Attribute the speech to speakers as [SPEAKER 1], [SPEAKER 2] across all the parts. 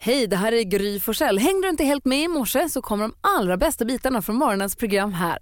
[SPEAKER 1] Hej, det här är Gry Forssell. Hängde du inte helt med i morse så kommer de allra bästa bitarna från morgonens program här.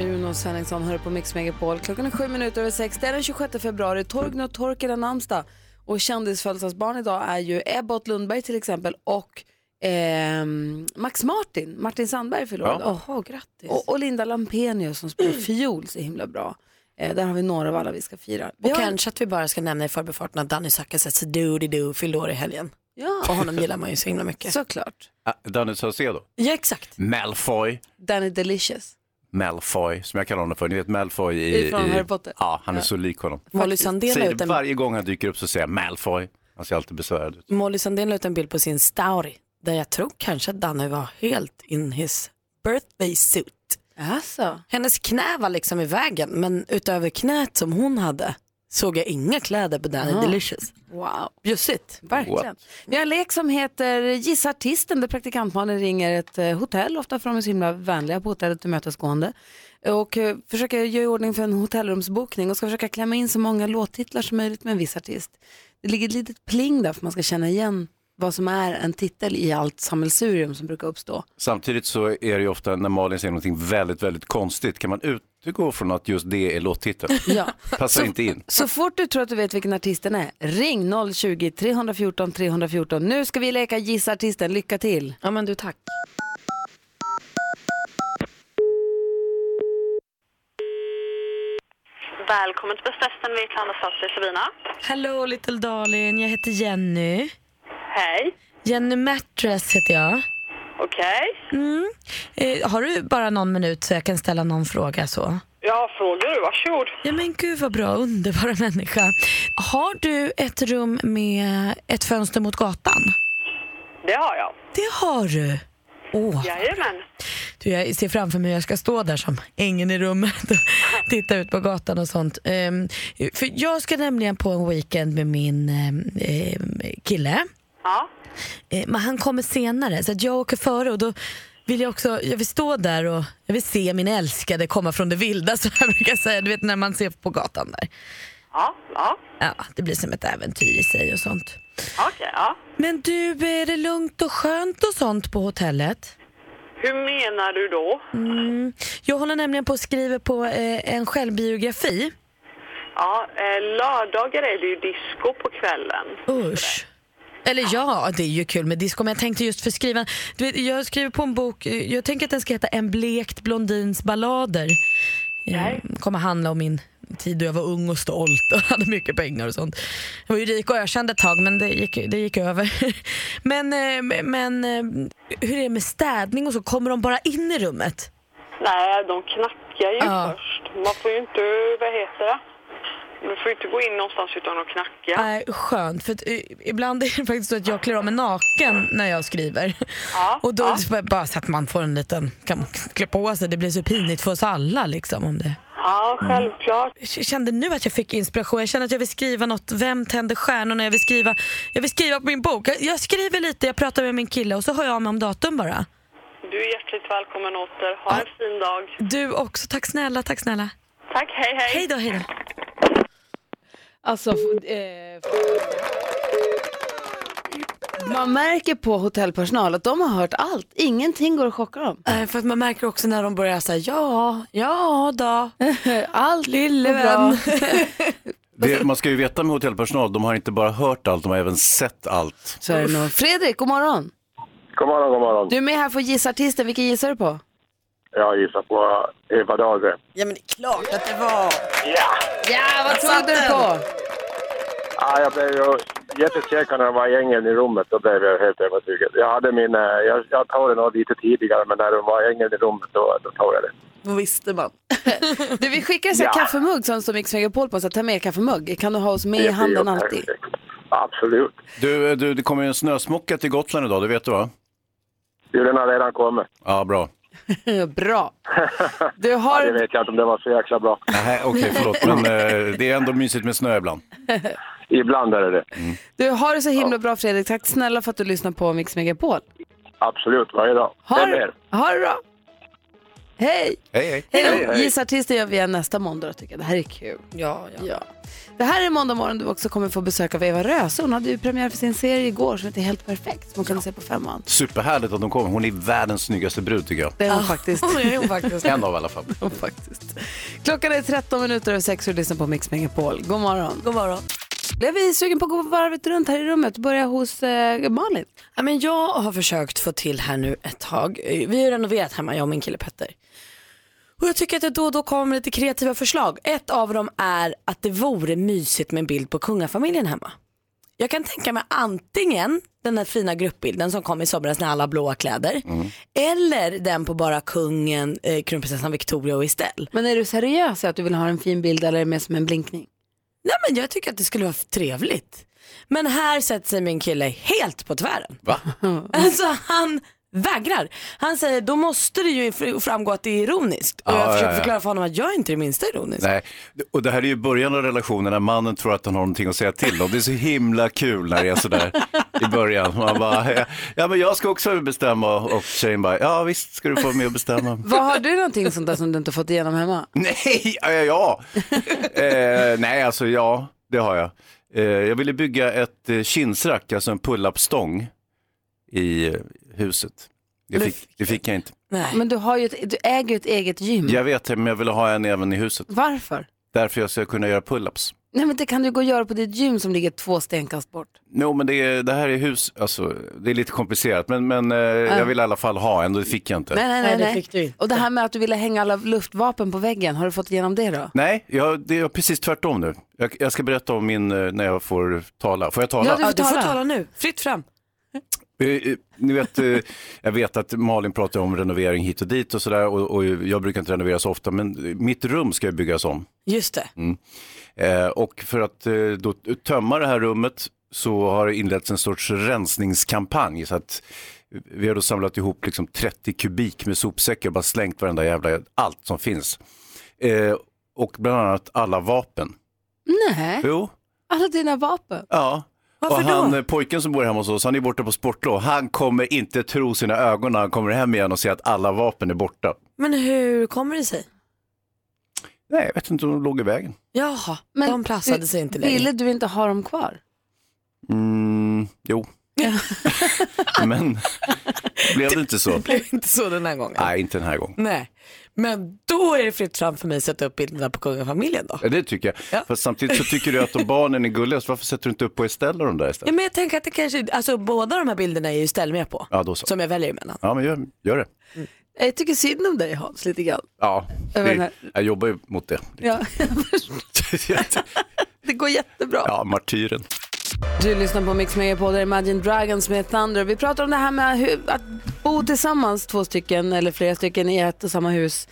[SPEAKER 1] Uno Svenningsson hör på Mix Megapol. Klockan är sju minuter över sex. Det är den 26 februari. Torgny och Torkel namnsdag. Och kändisfödelsedagsbarn idag är ju Ebbot Lundberg till exempel och ehm, Max Martin, Martin Sandberg förlorade.
[SPEAKER 2] Ja.
[SPEAKER 1] Åh, grattis. Och, och Linda Lampenius som spelar fiol så himla bra. Eh, där har vi några av alla vi ska fira. Vi
[SPEAKER 3] Och
[SPEAKER 1] har-
[SPEAKER 3] kanske att vi bara ska nämna i förbifarten att Danny Suckersets doody-doo fyllde år i helgen.
[SPEAKER 1] Ja.
[SPEAKER 3] Och honom gillar man ju så himla mycket.
[SPEAKER 1] Såklart.
[SPEAKER 2] Ah, Danny Saucedo.
[SPEAKER 3] Ja, exakt.
[SPEAKER 2] Malfoy.
[SPEAKER 1] Danny Delicious.
[SPEAKER 2] Malfoy, som jag kallar honom för. Ni vet Malfoy i...
[SPEAKER 1] Ifrån Harry Potter.
[SPEAKER 2] Ja, han är så lik honom.
[SPEAKER 3] Molly Sandén, la
[SPEAKER 2] Säger
[SPEAKER 3] ut
[SPEAKER 2] det
[SPEAKER 3] en,
[SPEAKER 2] varje gång han dyker upp så säger jag Malfoy. Han ser alltid besvärad ut.
[SPEAKER 3] Molly Sandén la ut en bild på sin Stauri där jag tror kanske att Danny var helt in his birthday suit.
[SPEAKER 1] Alltså.
[SPEAKER 3] Hennes knä var liksom i vägen men utöver knät som hon hade såg jag inga kläder på Danny Delicious.
[SPEAKER 1] Wow.
[SPEAKER 3] Bjussigt.
[SPEAKER 1] Verkligen. Vi har en lek som heter Gissa artisten där praktikantmannen ringer ett eh, hotell, ofta för de är så himla vänliga på hotellet tillmötesgående. Och eh, försöker göra i ordning för en hotellrumsbokning och ska försöka klämma in så många låttitlar som möjligt med en viss artist. Det ligger ett litet pling där för man ska känna igen vad som är en titel i allt sammelsurium som brukar uppstå.
[SPEAKER 2] Samtidigt så är det ju ofta när Malin säger någonting väldigt, väldigt konstigt kan man utgå från att just det är låttiteln.
[SPEAKER 1] Ja.
[SPEAKER 2] Passar inte in.
[SPEAKER 1] Så fort du tror att du vet vilken artisten är, ring 020-314 314. Nu ska vi leka Gissa artisten, lycka till!
[SPEAKER 3] Ja men du tack.
[SPEAKER 4] Välkommen till festen vid Klanders fast i Sabina.
[SPEAKER 5] Hello little darling, jag heter Jenny.
[SPEAKER 4] Hej.
[SPEAKER 5] Jenny Mattress heter jag.
[SPEAKER 4] Okej.
[SPEAKER 5] Mm. Eh, har du bara någon minut så jag kan ställa någon fråga så?
[SPEAKER 4] Ja, frågar du. Varsågod.
[SPEAKER 5] Ja men gud vad bra, underbara människa. Har du ett rum med ett fönster mot gatan?
[SPEAKER 4] Det har jag.
[SPEAKER 5] Det har du. Åh,
[SPEAKER 4] Jajamän.
[SPEAKER 5] du, jag ser framför mig hur jag ska stå där som ängen i rummet och titta ut på gatan och sånt. Ehm, för jag ska nämligen på en weekend med min ehm, ehm, kille.
[SPEAKER 4] Ja.
[SPEAKER 5] Eh, Men han kommer senare så att jag åker före och då vill jag också, jag vill stå där och jag vill se min älskade komma från det vilda så jag brukar säga, du vet när man ser på gatan där.
[SPEAKER 4] Ja. Ja.
[SPEAKER 5] Ja, det blir som ett äventyr i sig och sånt.
[SPEAKER 4] Okej. ja.
[SPEAKER 5] Men du, är det lugnt och skönt och sånt på hotellet?
[SPEAKER 4] Hur menar du då?
[SPEAKER 5] Mm. Jag håller nämligen på och skriver på eh, en självbiografi.
[SPEAKER 4] Ja, eh, lördagar är det ju disco på kvällen.
[SPEAKER 5] Usch. Eller ja, det är ju kul med disco, men jag tänkte just för skrivan. Du vet, jag skriver på en bok, eh, jag tänker att den ska heta En blekt blondins ballader. Eh,
[SPEAKER 4] Nej.
[SPEAKER 5] kommer handla om min tid då jag var ung och stolt och hade mycket pengar och sånt. Jag var ju rik och ökänd ett tag men det gick, det gick över. Men, eh, men eh, hur är det med städning och så? Kommer de bara in i rummet?
[SPEAKER 4] Nej, de knackar ju
[SPEAKER 5] Ja.
[SPEAKER 4] först. Man får ju inte, vad heter det? Du får ju inte gå in någonstans utan att knacka.
[SPEAKER 5] Nej, skönt. För att, eh, ibland är det faktiskt så att jag klär av mig naken när jag skriver.
[SPEAKER 4] Ja,
[SPEAKER 5] och då
[SPEAKER 4] ja.
[SPEAKER 5] så bara- bara så att man får en liten, kan man klä på sig. Det blir så pinigt för oss alla liksom om det.
[SPEAKER 4] Ja, självklart.
[SPEAKER 5] Jag kände nu att jag fick inspiration. Jag kände att jag vill skriva något. Vem tänder stjärnorna? Jag vill skriva, jag vill skriva på min bok. Jag, jag skriver lite, jag pratar med min kille och så hör jag av mig om datum bara.
[SPEAKER 4] Du är hjärtligt välkommen åter. Ha en fin dag.
[SPEAKER 5] Du också. Tack snälla, tack snälla.
[SPEAKER 4] Tack, hej hej.
[SPEAKER 5] Hej då, hej då.
[SPEAKER 1] Alltså, f- eh, f- man märker på hotellpersonal att de har hört allt. Ingenting går att chocka dem.
[SPEAKER 3] Eh, För att man märker också när de börjar säga ja, ja då.
[SPEAKER 1] Allt Lille
[SPEAKER 3] vän.
[SPEAKER 2] Det, man ska ju veta med hotellpersonal, de har inte bara hört allt, de har även sett allt.
[SPEAKER 1] Så är det nog. Fredrik, god morgon.
[SPEAKER 6] God morgon, god morgon.
[SPEAKER 1] Du är med här för att gissa artisten. Vilken gissar du på?
[SPEAKER 6] Jag gissar på Eva Dahlgren.
[SPEAKER 3] Ja men det är klart att det var.
[SPEAKER 6] Ja!
[SPEAKER 1] Ja, vad trodde du på?
[SPEAKER 6] Ah, jag blev ju jättesäker när det var gängen i rummet. Då blev jag helt övertygad. Jag hade min... eh, Jag, jag tog det nog lite tidigare, men när det var gängen i rummet då, då tog jag det.
[SPEAKER 3] Då visste man.
[SPEAKER 1] Du, vi skickar en sån här
[SPEAKER 6] Ja.
[SPEAKER 1] kaffemugg som står Mix Megapol på. Så ta med kaffemugg. Kan du ha oss med i
[SPEAKER 6] Det är
[SPEAKER 1] handen
[SPEAKER 6] ju
[SPEAKER 1] alltid?
[SPEAKER 6] perfekt. Absolut.
[SPEAKER 2] Du, du, det kommer ju en snösmocka till Gotland idag, det vet du va?
[SPEAKER 6] Jo, den har redan kommit.
[SPEAKER 2] Ja, bra.
[SPEAKER 1] Bra. Du
[SPEAKER 6] Det
[SPEAKER 1] har...
[SPEAKER 6] vet jag inte om det var så jäkla bra.
[SPEAKER 2] Nej, okej, förlåt, men eh, det är ändå mysigt med snö ibland. Mm.
[SPEAKER 6] Ibland är det det.
[SPEAKER 1] Du har det så himla bra Fredrik. Tack snälla för att du lyssnar på Mix Megapol.
[SPEAKER 6] Absolut, varje dag.
[SPEAKER 1] Ha
[SPEAKER 6] Vem
[SPEAKER 1] det,
[SPEAKER 6] är?
[SPEAKER 1] ha det bra. Hej!
[SPEAKER 2] Hej, hej.
[SPEAKER 1] Hej då! Gissartister gör vi igen nästa måndag då, tycker jag. Det här är kul.
[SPEAKER 4] Ja, ja.
[SPEAKER 1] Ja. Det här är måndag morgon du också kommer få besök av Eva Röse. Hon hade ju premiär för sin serie igår som heter Helt perfekt som man kunde se på femman.
[SPEAKER 2] Superhärligt att de kommer. Hon är världens snyggaste brud tycker jag.
[SPEAKER 1] Det är hon faktiskt.
[SPEAKER 4] Det är hon faktiskt.
[SPEAKER 2] En av i alla fall.
[SPEAKER 1] Hon faktiskt. Klockan är 13 minuter över sex och du lyssnar på Mix Megapol. God morgon.
[SPEAKER 4] God morgon.
[SPEAKER 1] Blev vi sugen på att gå varvet runt här i rummet? Börja hos eh, Malin.
[SPEAKER 5] Ja, men jag har försökt få till här nu ett tag. Vi har ju renoverat hemma, jag och min kille Petter. Och jag tycker att det då och då kommer lite kreativa förslag. Ett av dem är att det vore mysigt med en bild på kungafamiljen hemma. Jag kan tänka mig antingen den här fina gruppbilden som kom i somras när alla har blåa kläder.
[SPEAKER 7] Mm.
[SPEAKER 5] Eller den på bara kungen, eh, kronprinsessan Victoria och Estelle.
[SPEAKER 1] Men är du seriös i att du vill ha en fin bild eller är det mer som en blinkning?
[SPEAKER 5] Nej men jag tycker att det skulle vara trevligt. Men här sätter sig min kille helt på tvären.
[SPEAKER 2] Va?
[SPEAKER 5] Alltså han vägrar. Han säger då måste det ju fr- framgå att det är ironiskt. Och
[SPEAKER 2] Ja,
[SPEAKER 5] jag
[SPEAKER 2] ja,
[SPEAKER 5] försöker
[SPEAKER 2] ja.
[SPEAKER 5] förklara för honom att jag är inte det minsta ironisk.
[SPEAKER 2] Nej, och det här är ju början av relationen när mannen tror att han har någonting att säga till om. Det är så himla kul när det är sådär i början. Man bara, ja men jag ska också bestämma och tjejen bara, ja visst ska du få vara med och bestämma.
[SPEAKER 1] Vad har du någonting sånt där som du inte fått igenom hemma?
[SPEAKER 2] Nej, ja, ja. ja. eh, nej alltså ja, det har jag. Eh, jag ville bygga ett eh, kinsrack, alltså en pull-up-stång i eh, huset. Det fick, det fick jag inte.
[SPEAKER 5] Nej.
[SPEAKER 1] Men du, har ju ett, du äger ju ett eget gym.
[SPEAKER 2] Jag vet det, men jag ville ha en även i huset.
[SPEAKER 1] Varför?
[SPEAKER 2] Därför jag ska kunna göra pull-ups.
[SPEAKER 1] Nej men det kan du gå och göra på ditt gym som ligger två stenkast bort.
[SPEAKER 2] Jo, men det, är, det här är hus, alltså det är lite komplicerat, men, men eh, jag vill i alla fall ha en, det fick jag inte.
[SPEAKER 1] Nej nej nej.
[SPEAKER 5] Nej, det
[SPEAKER 1] nej.
[SPEAKER 5] fick du inte.
[SPEAKER 1] Och det här med att du ville hänga alla luftvapen på väggen, har du fått igenom det då?
[SPEAKER 2] Nej, jag, det är precis tvärtom nu. Jag, jag ska berätta om min, eh, när jag får tala. Får jag tala?
[SPEAKER 1] Ja, du
[SPEAKER 5] Ja,
[SPEAKER 1] får
[SPEAKER 5] du får
[SPEAKER 1] tala.
[SPEAKER 5] tala nu, fritt fram.
[SPEAKER 2] Eh, eh, Ni vet, eh, jag vet att Malin pratar om renovering hit och dit och sådär och, och jag brukar inte renovera så ofta men eh, mitt rum ska ju byggas om.
[SPEAKER 5] Just det.
[SPEAKER 2] Eh, och för att eh, då tömma det här rummet så har det inletts en sorts rensningskampanj. Så att vi har då samlat ihop liksom 30 kubik med sopsäckar och bara slängt varenda jävla, allt som finns. Eh, och bland annat alla vapen.
[SPEAKER 1] Nej,
[SPEAKER 2] Jo,
[SPEAKER 1] alla dina vapen.
[SPEAKER 2] ja.
[SPEAKER 5] Varför
[SPEAKER 2] och han,
[SPEAKER 5] då?
[SPEAKER 2] eh, pojken som bor hemma hos oss, han är borta på sportlov. Han kommer inte tro sina ögon när han kommer hem igen och ser att alla vapen är borta.
[SPEAKER 5] Men hur kommer det sig?
[SPEAKER 2] Nej, jag vet inte om de låg i vägen.
[SPEAKER 5] Jaha,
[SPEAKER 1] Men
[SPEAKER 5] de
[SPEAKER 1] du-
[SPEAKER 5] plassade sig inte längre.
[SPEAKER 1] Ville du inte ha dem kvar?
[SPEAKER 2] Mm, jo. Men blev det inte så?
[SPEAKER 5] Det blev inte så den här gången.
[SPEAKER 2] Nej, inte den här gången.
[SPEAKER 5] Nej. Men då är det fritt fram för mig att sätta upp bilderna på kungafamiljen då.
[SPEAKER 2] Ja, det tycker jag.
[SPEAKER 5] Ja.
[SPEAKER 2] Fast samtidigt så tycker du att de barnen är gulligast. Varför sätter du inte upp på Estelle och de där
[SPEAKER 5] Ja,
[SPEAKER 2] istället?
[SPEAKER 5] men jag tänker att det kanske, alltså båda de här bilderna är ju ställ med på.
[SPEAKER 2] Ja, då så.
[SPEAKER 5] Som jag väljer emellan.
[SPEAKER 2] Ja, men gör, gör det.
[SPEAKER 1] Jag tycker synd om dig Hans lite grann.
[SPEAKER 2] Ja,
[SPEAKER 1] Mm. Jag
[SPEAKER 2] det,
[SPEAKER 1] menar-
[SPEAKER 2] jag jobbar ju mot det.
[SPEAKER 1] Ja, det går jättebra.
[SPEAKER 2] ja, martyren.
[SPEAKER 1] Du lyssnar på Mix Megapol, det är Imagine Dragons med Thunder. Vi pratar om det här med hur, att bo tillsammans, två stycken eller flera stycken i ett och samma hus.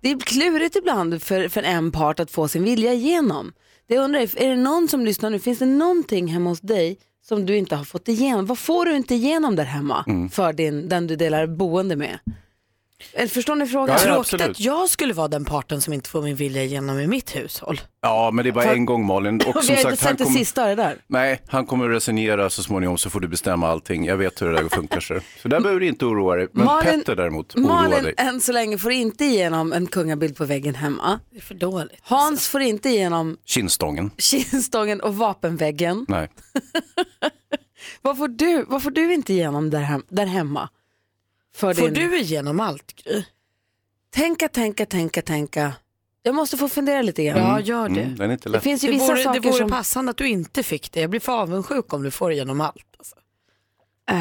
[SPEAKER 1] Det är klurigt ibland för, för en part att få sin vilja igenom. Det jag undrar är, är det någon som lyssnar nu, finns det någonting hemma hos dig som du inte har fått igenom? Vad får du inte igenom där hemma
[SPEAKER 2] Mm.
[SPEAKER 1] för din, den du delar boende med? Eller Förstår ni frågan?
[SPEAKER 2] Ja, ja,
[SPEAKER 5] Tråkigt
[SPEAKER 2] absolut.
[SPEAKER 5] att jag skulle vara den parten som inte får min vilja igenom i mitt hushåll.
[SPEAKER 2] Ja, men det är bara en gång Malin. Och
[SPEAKER 1] Vi
[SPEAKER 2] som
[SPEAKER 1] har inte
[SPEAKER 2] sagt, han
[SPEAKER 1] sett det
[SPEAKER 2] kommer...
[SPEAKER 1] sista av det där.
[SPEAKER 2] Nej, han kommer att resonera så småningom så får du bestämma allting. Jag vet hur det där funkar. Så, så där behöver du inte oroa dig. Men
[SPEAKER 1] Malin-
[SPEAKER 2] Petter däremot, oroa
[SPEAKER 1] Malin
[SPEAKER 2] dig.
[SPEAKER 1] än så länge får inte igenom en kungabild på väggen hemma.
[SPEAKER 5] Det är för dåligt.
[SPEAKER 1] Hans får inte igenom
[SPEAKER 2] Kinnstången.
[SPEAKER 1] kinstången och vapenväggen.
[SPEAKER 2] Nej.
[SPEAKER 1] Vad får du, vad får du inte igenom där, hem, där hemma? För
[SPEAKER 5] Får
[SPEAKER 1] din...
[SPEAKER 5] du igenom allt Gry?
[SPEAKER 1] Tänka, tänka, tänka, tänka. Jag måste få fundera lite grann.
[SPEAKER 5] Ja, gör det.
[SPEAKER 2] Mm, den är inte
[SPEAKER 1] Det
[SPEAKER 2] lätt.
[SPEAKER 1] finns ju
[SPEAKER 5] Det
[SPEAKER 1] vissa
[SPEAKER 5] vore, det
[SPEAKER 1] saker
[SPEAKER 5] vore
[SPEAKER 1] som...
[SPEAKER 5] passande att du inte fick det. Jag blir för avundsjuk om du får igenom allt. Alltså.
[SPEAKER 1] Eh,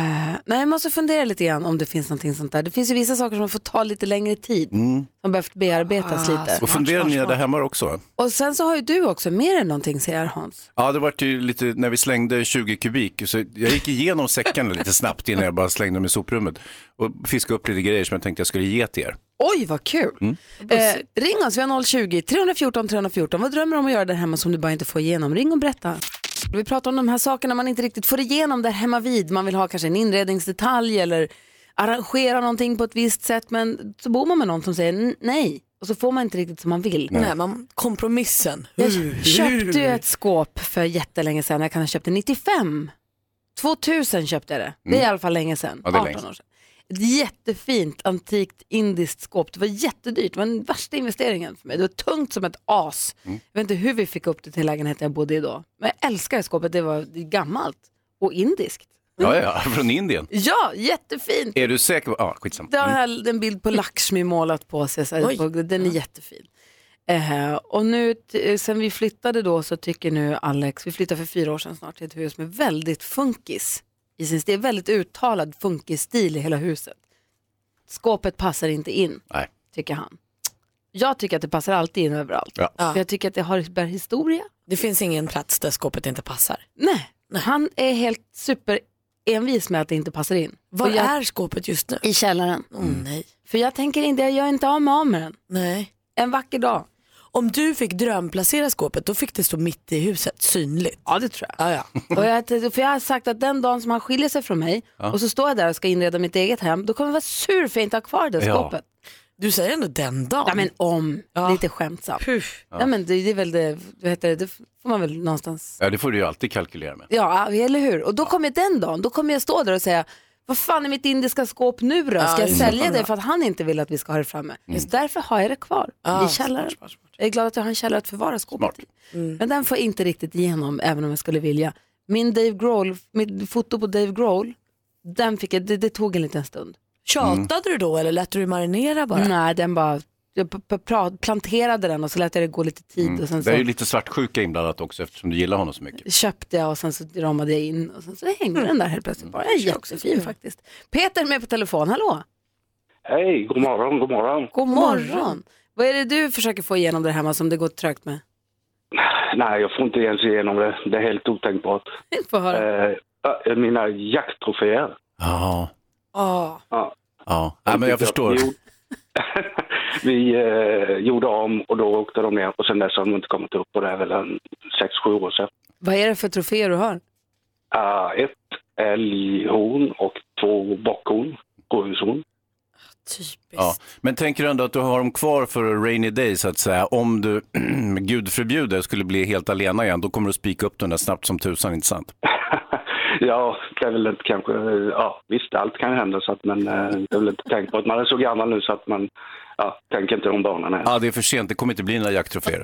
[SPEAKER 1] nej, jag måste fundera lite grann om det finns någonting sånt där. Det finns ju vissa saker som får ta lite längre tid. Som behövt
[SPEAKER 5] Ah,
[SPEAKER 1] bearbetas lite.
[SPEAKER 2] Och funderar ni där hemma också?
[SPEAKER 1] Och sen så har ju du också mer än någonting, säger Hans.
[SPEAKER 2] Ja, det var ju lite, när vi slängde 20 kubik, så jag gick igenom säckarna lite snabbt innan jag bara slängde dem i soprummet och fiskade upp lite grejer som jag tänkte jag skulle ge till er.
[SPEAKER 1] Oj, vad kul!
[SPEAKER 2] Mm.
[SPEAKER 1] Eh, ring oss, vi har 020-314 314. Vad drömmer du om att göra där hemma som du bara inte får igenom? Ring och berätta. Vi pratar om de här sakerna man inte riktigt får igenom där hemma vid. Man vill ha kanske en inredningsdetalj eller arrangera någonting på ett visst sätt men så bor man med någon som säger n- nej och så får man inte riktigt som man vill.
[SPEAKER 5] Nej, man, kompromissen.
[SPEAKER 1] Jag köpte ju ett skåp för jättelänge sedan, jag kan ha köpt det 95. 2000 köpte jag det, det är i alla fall länge sedan.
[SPEAKER 2] Mm. Ja, det är
[SPEAKER 1] 18
[SPEAKER 2] länge
[SPEAKER 1] år sedan. Ett jättefint antikt indiskt skåp. Det var jättedyrt, det var den värsta investeringen för mig. Det var tungt som ett as. Jag vet inte hur vi fick upp det till lägenheten jag bodde i då. Men jag älskar det skåpet, det var gammalt och indiskt.
[SPEAKER 2] Ja, ja, från Indien.
[SPEAKER 1] Mm. Ja, jättefint.
[SPEAKER 2] Är du säker? på- Ja, ah, skitsamma.
[SPEAKER 1] Det har jag en bild på Lakshmi målat på sig. Så här,
[SPEAKER 5] Oj.
[SPEAKER 1] på, den är jättefin. Eh, och nu, t- sen vi flyttade då så tycker nu Alex, vi flyttade för fyra år sedan snart till ett hus med väldigt funkis i sin stil. Väldigt uttalad funkisstil i hela huset. Skåpet passar inte in,
[SPEAKER 2] Nej.
[SPEAKER 1] tycker han. Jag tycker att det passar alltid in överallt.
[SPEAKER 2] Ja.
[SPEAKER 1] För jag tycker att det har, bär historia.
[SPEAKER 5] Det finns ingen plats där skåpet inte passar.
[SPEAKER 1] Nej, han är helt super envis med att det inte passar in.
[SPEAKER 5] Var
[SPEAKER 1] Och jag,
[SPEAKER 5] är skåpet just nu?
[SPEAKER 1] I källaren.
[SPEAKER 5] Åh nej.
[SPEAKER 1] För jag tänker inte, jag gör inte av mig av med den.
[SPEAKER 5] nej.
[SPEAKER 1] En vacker dag.
[SPEAKER 5] Om du fick drömplacera skåpet då fick det stå mitt i huset, synligt.
[SPEAKER 1] Ja, det tror jag.
[SPEAKER 5] Ja, ja.
[SPEAKER 1] Och jag, för jag har sagt att den dagen som han skiljer sig från mig och så står jag där och ska inreda mitt eget hem, då kommer jag vara sur för jag inte har kvar det
[SPEAKER 2] Ja.
[SPEAKER 1] skåpet.
[SPEAKER 5] Du säger ändå den dagen.
[SPEAKER 1] Ja men om, lite skämtsamt. Ja. men det, det är väl det, vad heter det, det får man väl någonstans,
[SPEAKER 2] Ja, det får du ju alltid kalkylera med.
[SPEAKER 1] ja eller hur. Och då kommer den dagen, då kommer jag stå där och säga, vad fan är mitt indiska skåp nu då? Ska jag sälja det för att han inte vill att vi ska ha det framme? Så därför har jag det kvar i källaren. Jag är glad att jag har en källare att förvara skåpet i. Men den får jag inte riktigt igenom även om jag skulle vilja. Min Dave Grohl, mitt foto på Dave Grohl, den fick jag, det, det tog en liten stund.
[SPEAKER 5] Tjatade du då eller lät du det marinera bara?
[SPEAKER 1] Nej, den bara, jag p- p- pra- planterade den och så lät jag det gå lite tid och sen så
[SPEAKER 2] Mm. Det är ju lite svartsjuka inblandat också eftersom du gillar honom så mycket.
[SPEAKER 1] köpte jag och sen så ramade jag in och sen så hängde den där helt plötsligt bara. Den är jättefin faktiskt. Peter är med på telefon, hallå?
[SPEAKER 8] Hej, god morgon, god morgon.
[SPEAKER 1] God morgon. Vad är det du försöker få igenom där hemma som det går trögt med?
[SPEAKER 8] Nej, jag får inte ens igenom det. Det är helt otänkbart.
[SPEAKER 1] Få höra.
[SPEAKER 8] Eh, äh, mina jakttroféer.
[SPEAKER 2] Ja,
[SPEAKER 1] Ah.
[SPEAKER 5] Ja.
[SPEAKER 8] Ja,
[SPEAKER 2] ja. ja men jag förstår.
[SPEAKER 8] Vi, gjorde- vi eh, gjorde om och då åkte de ner och sen dess har de inte kommit upp och det är väl en sex sju år sedan.
[SPEAKER 1] Vad är det för troféer du har?
[SPEAKER 8] Ah, ett älghorn och två bockhorn, rådjurshorn.
[SPEAKER 5] Typiskt.
[SPEAKER 2] Ja. Men tänker du ändå att du har dem kvar för rainy day så att säga? Om du, gud förbjuder, skulle bli helt alena igen, då kommer du spika upp den där snabbt som tusan, inte sant?
[SPEAKER 8] ja, det är väl inte kanske, eh, ja visst allt kan hända så att man, eh, det är väl inte tänkt på att man är så gammal nu så att man, ja, tänker inte de banorna än.
[SPEAKER 2] Ja, det är för sent, det kommer inte bli några jakttroféer.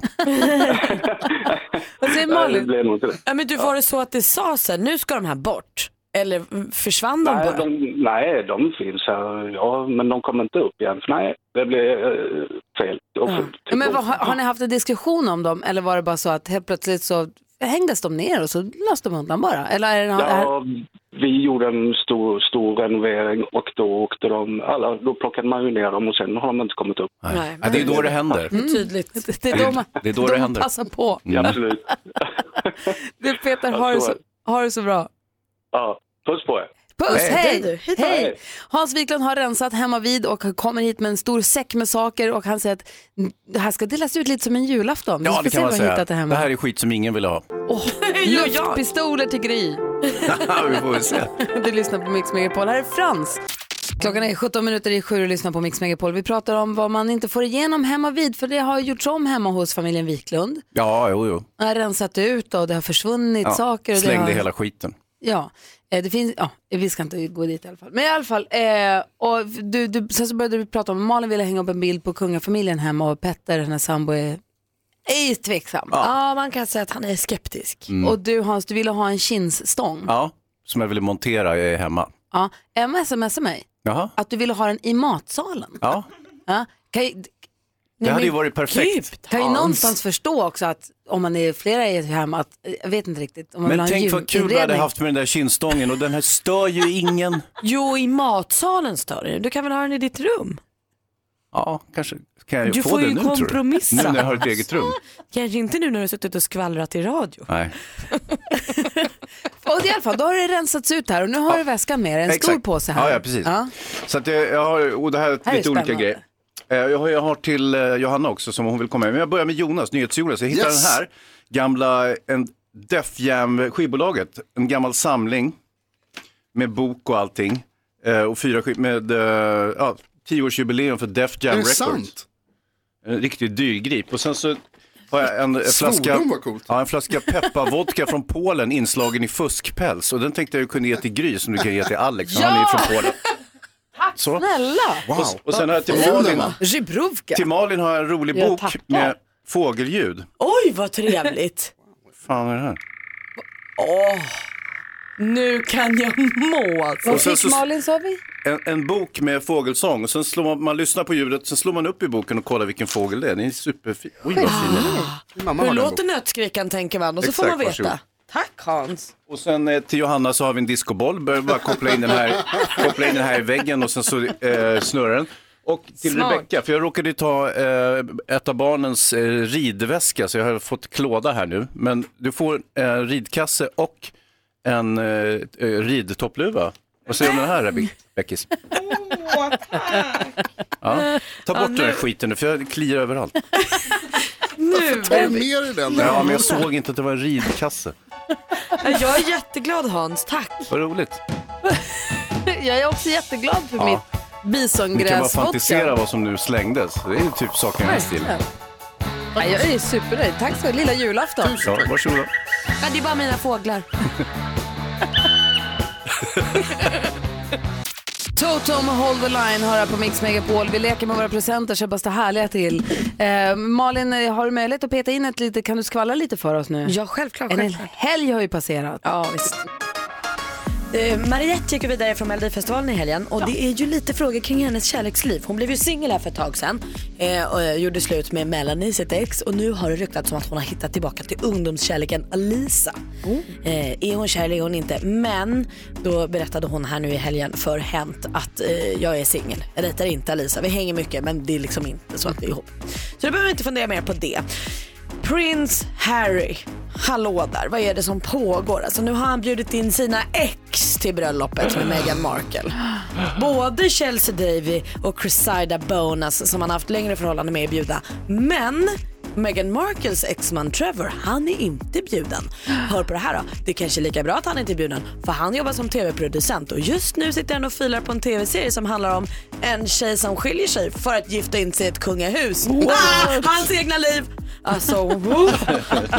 [SPEAKER 1] Vad säger
[SPEAKER 8] Nej, det
[SPEAKER 1] Malin?
[SPEAKER 8] blir nog inte det.
[SPEAKER 5] Ja, men du var det så att det sa så här, nu ska de här bort? Eller mm, försvann de
[SPEAKER 8] Nej
[SPEAKER 5] bara?
[SPEAKER 8] de, nej, de finns här, ja, men de kommer inte upp igen. För nej, det blir eh, fel. Och,
[SPEAKER 1] Ja, men vad, har, har ni haft en diskussion om dem eller var det bara så att helt plötsligt så hängdes de ner och så lades de undan bara? Eller är det, är,
[SPEAKER 8] Ja, vi gjorde en stor, stor renovering och då åkte de, alla, då plockade man ju ner dem och sen har de inte kommit upp.
[SPEAKER 2] Nej. Ja, det är då det händer.
[SPEAKER 1] Mm.
[SPEAKER 5] Mm.
[SPEAKER 2] Mm.
[SPEAKER 5] Tydligt.
[SPEAKER 1] det, det är då man,
[SPEAKER 2] Det är då det
[SPEAKER 1] de
[SPEAKER 2] händer.
[SPEAKER 1] passar på.
[SPEAKER 8] Absolut.
[SPEAKER 1] Du Peter,
[SPEAKER 8] Ja,
[SPEAKER 1] har det
[SPEAKER 8] så
[SPEAKER 1] så,
[SPEAKER 8] är det.
[SPEAKER 1] har det så bra.
[SPEAKER 8] ja, puss på er.
[SPEAKER 1] Puss, hej!
[SPEAKER 5] Hej du, hej då.
[SPEAKER 1] hej. Hans Wiklund har rensat hemma vid och kommer hit med en stor säck med saker och han säger att det här ska delas ut lite som en julafton.
[SPEAKER 2] Ja,
[SPEAKER 1] vi ska
[SPEAKER 2] det
[SPEAKER 1] se
[SPEAKER 2] kan man
[SPEAKER 1] vad jag
[SPEAKER 2] säga.
[SPEAKER 1] hittat det hemma.
[SPEAKER 2] Det här är skit som ingen vill ha.
[SPEAKER 1] Luftpistoler till Gry.
[SPEAKER 2] vi får väl se.
[SPEAKER 1] Du lyssnar på Mix Megapol. Här är Frans. Klockan är 17 minuter i sju och lyssnar på Mix Megapol. Vi pratar om vad man inte får igenom hemma vid för det har gjorts om hemma hos familjen Wiklund.
[SPEAKER 2] Ja, jo, jo.
[SPEAKER 1] Man har rensat ut och det har försvunnit
[SPEAKER 2] Ja.
[SPEAKER 1] saker. Och det
[SPEAKER 2] Slängde
[SPEAKER 1] har...
[SPEAKER 2] hela skiten.
[SPEAKER 1] Ja, eh, det finns, ja, vi ska inte gå dit i alla fall. Men i alla fall, eh, och du, du, sen så började du prata om, Malin ville hänga upp en bild på kungafamiljen hemma och Petter, hennes sambo, är, är tveksam.
[SPEAKER 5] Ja, man kan säga att han är skeptisk.
[SPEAKER 2] Mm.
[SPEAKER 1] Och du Hans, du ville ha en kinsstång. Ja.
[SPEAKER 2] Ja, som jag ville montera eh, hemma.
[SPEAKER 1] Emma smsade mig
[SPEAKER 2] Jaha,
[SPEAKER 1] att du ville ha den i matsalen.
[SPEAKER 2] ja.
[SPEAKER 1] Ja. Kan, ju, typ,
[SPEAKER 2] Det hade ju varit perfekt. Typ,
[SPEAKER 5] Gud,
[SPEAKER 1] kan ju
[SPEAKER 5] Hans.
[SPEAKER 1] någonstans förstå också att om man är flera i ett hem, att, eh, jag vet inte riktigt, om man vill ha
[SPEAKER 2] Men
[SPEAKER 1] en
[SPEAKER 2] tänk vad kul du hade
[SPEAKER 1] julinredning.
[SPEAKER 2] haft med den där kindstången och den här stör ju ingen.
[SPEAKER 5] Jo, i matsalen står det. Du kan väl ha den i ditt rum?
[SPEAKER 2] Ja, kanske kan jag
[SPEAKER 5] Du
[SPEAKER 2] Eh, få
[SPEAKER 5] får
[SPEAKER 2] det
[SPEAKER 5] ju
[SPEAKER 2] nu tror du?
[SPEAKER 5] kompromissa.
[SPEAKER 2] Nu när jag har ett eget rum.
[SPEAKER 5] Kanske inte nu när du har suttit och skvallrat i radio.
[SPEAKER 2] Nej.
[SPEAKER 1] Och i alla fall, då har det rensats ut här och nu har du väskan med dig, en stor
[SPEAKER 2] Exakt.
[SPEAKER 1] påse här.
[SPEAKER 2] Ja, ja, precis. Så att jag, jag har, och det här är
[SPEAKER 1] Här är
[SPEAKER 2] lite olika
[SPEAKER 1] spännande.
[SPEAKER 2] grejer. Eh, Jag har, jag har till eh, Johanna också som hon vill komma med. Men jag börjar med Jonas, NyhetsJonas. Jag hittade
[SPEAKER 9] Yes.
[SPEAKER 2] den här gamla, en Def Jam skivbolaget. En gammal samling med bok och allting. Eh, Och fyra skiv, med eh, ja, tioårsjubileum för Def Jam
[SPEAKER 9] Är det
[SPEAKER 2] Records.
[SPEAKER 9] sant?
[SPEAKER 2] En riktigt dyrgrip. Och sen så har jag en, en flaska,
[SPEAKER 9] Svordom, vad coolt.
[SPEAKER 2] ja, en flaska pepparvodka från Polen inslagen i fuskpäls. Och den tänkte jag kunde ge till Gry som du kan ge till Alex. för Han är ju från Polen. Så.
[SPEAKER 1] Snälla!
[SPEAKER 2] Och, och sen har jag till
[SPEAKER 9] Kul,
[SPEAKER 2] Malin,
[SPEAKER 9] va?
[SPEAKER 5] Rybrovka.
[SPEAKER 2] till Malin har jag en rolig
[SPEAKER 1] Jag
[SPEAKER 2] bok
[SPEAKER 1] tackar.
[SPEAKER 2] med fågelljud.
[SPEAKER 5] Oj, vad trevligt.
[SPEAKER 2] Fan vad är det här?
[SPEAKER 5] Åh, nu kan jag må alltså.
[SPEAKER 2] Och sen
[SPEAKER 1] Fick
[SPEAKER 2] så,
[SPEAKER 1] Malin sa vi?
[SPEAKER 2] en, en bok med fågelsång och sen slår man, man lyssnar på ljudet, sen slår man upp i boken och kollar vilken fågel det är. Den är superfin. Oj, vad fin den är.
[SPEAKER 9] Mamma
[SPEAKER 5] Hur
[SPEAKER 9] har den
[SPEAKER 5] låter
[SPEAKER 9] boken.
[SPEAKER 5] nötskrikan tänker man och så får
[SPEAKER 2] Exakt,
[SPEAKER 5] man veta.
[SPEAKER 2] varsågod.
[SPEAKER 5] Tack Hans.
[SPEAKER 2] Och sen eh, till Johanna så har vi en discoboll. Behöver bara koppla in den här, koppla in den här i väggen och sen så eh, snurrar den. Och till
[SPEAKER 5] Smart.
[SPEAKER 2] Rebecka, för jag råkade ju ta eh, ett av barnens eh, ridväska så jag har fått klåda här nu. Men du får en eh, ridkasse och en eh, eh, ridtoppluva. Vad säger du om den här Rebe- Beckis? Ja, ta bort den här skiten nu för jag kliar överallt. Alltså,
[SPEAKER 9] Tar du med dig den?
[SPEAKER 2] Ja, men jag såg inte att det var en ridkasse.
[SPEAKER 5] Jag är jätteglad Hans, tack.
[SPEAKER 2] Vad roligt.
[SPEAKER 1] Jag är också jätteglad för
[SPEAKER 2] Ja.
[SPEAKER 1] mitt
[SPEAKER 2] Ni kan bara
[SPEAKER 1] bisongräsvodka.
[SPEAKER 2] fantisera vad som nu slängdes. Det är ju typ saker i den här stilen.
[SPEAKER 1] Ja, Jag är supernöjd. Tack så Lilla julafton.
[SPEAKER 2] Ja, varsågoda.
[SPEAKER 5] Men det är bara mina fåglar.
[SPEAKER 1] Toto med Hold the Line hör här på Mix Megapol. Vi leker med våra presenter så jag bara står härliga till. Eh, Malin, eh, har du möjlighet att peta in ett litet, kan du skvallra lite för oss nu?
[SPEAKER 5] Ja, självklart.
[SPEAKER 1] En hel
[SPEAKER 5] självklart.
[SPEAKER 1] helg har ju passerat.
[SPEAKER 5] Ja, visst. Eh, Mariette gick ju vidare från Melodifestivalen i helgen och det är ju lite frågor kring hennes kärleksliv. Hon blev ju singel här för ett tag sedan eh, och eh, gjorde slut med Melanie, sitt ex. Och nu har det ryktats om att hon har hittat tillbaka till ungdomskärleken Alisa.
[SPEAKER 1] Oh.
[SPEAKER 5] Eh, är hon kär eller är hon inte? Men då berättade hon här nu i helgen för Hänt att eh, jag är singel. Jag dejtar inte Alisa. Vi hänger mycket men det är liksom inte så att vi är ihop. Så då behöver vi inte fundera mer på det. Prins Harry, hallå där, vad är det som pågår? Alltså nu har han bjudit in sina ex till bröllopet med Meghan Markle. Både Chelsea Davy och Cressida Bonas som han haft längre förhållande med är bjudna. Men Meghan Markles exman Trevor, han är inte bjuden. Hör på det här då. Det är kanske är lika bra att han inte är bjuden för han jobbar som tv-producent och just nu sitter han och filar på en tv-serie som handlar om en tjej som skiljer sig för att gifta in sig i ett kungahus. Ah, hans egna liv! Alltså, wow.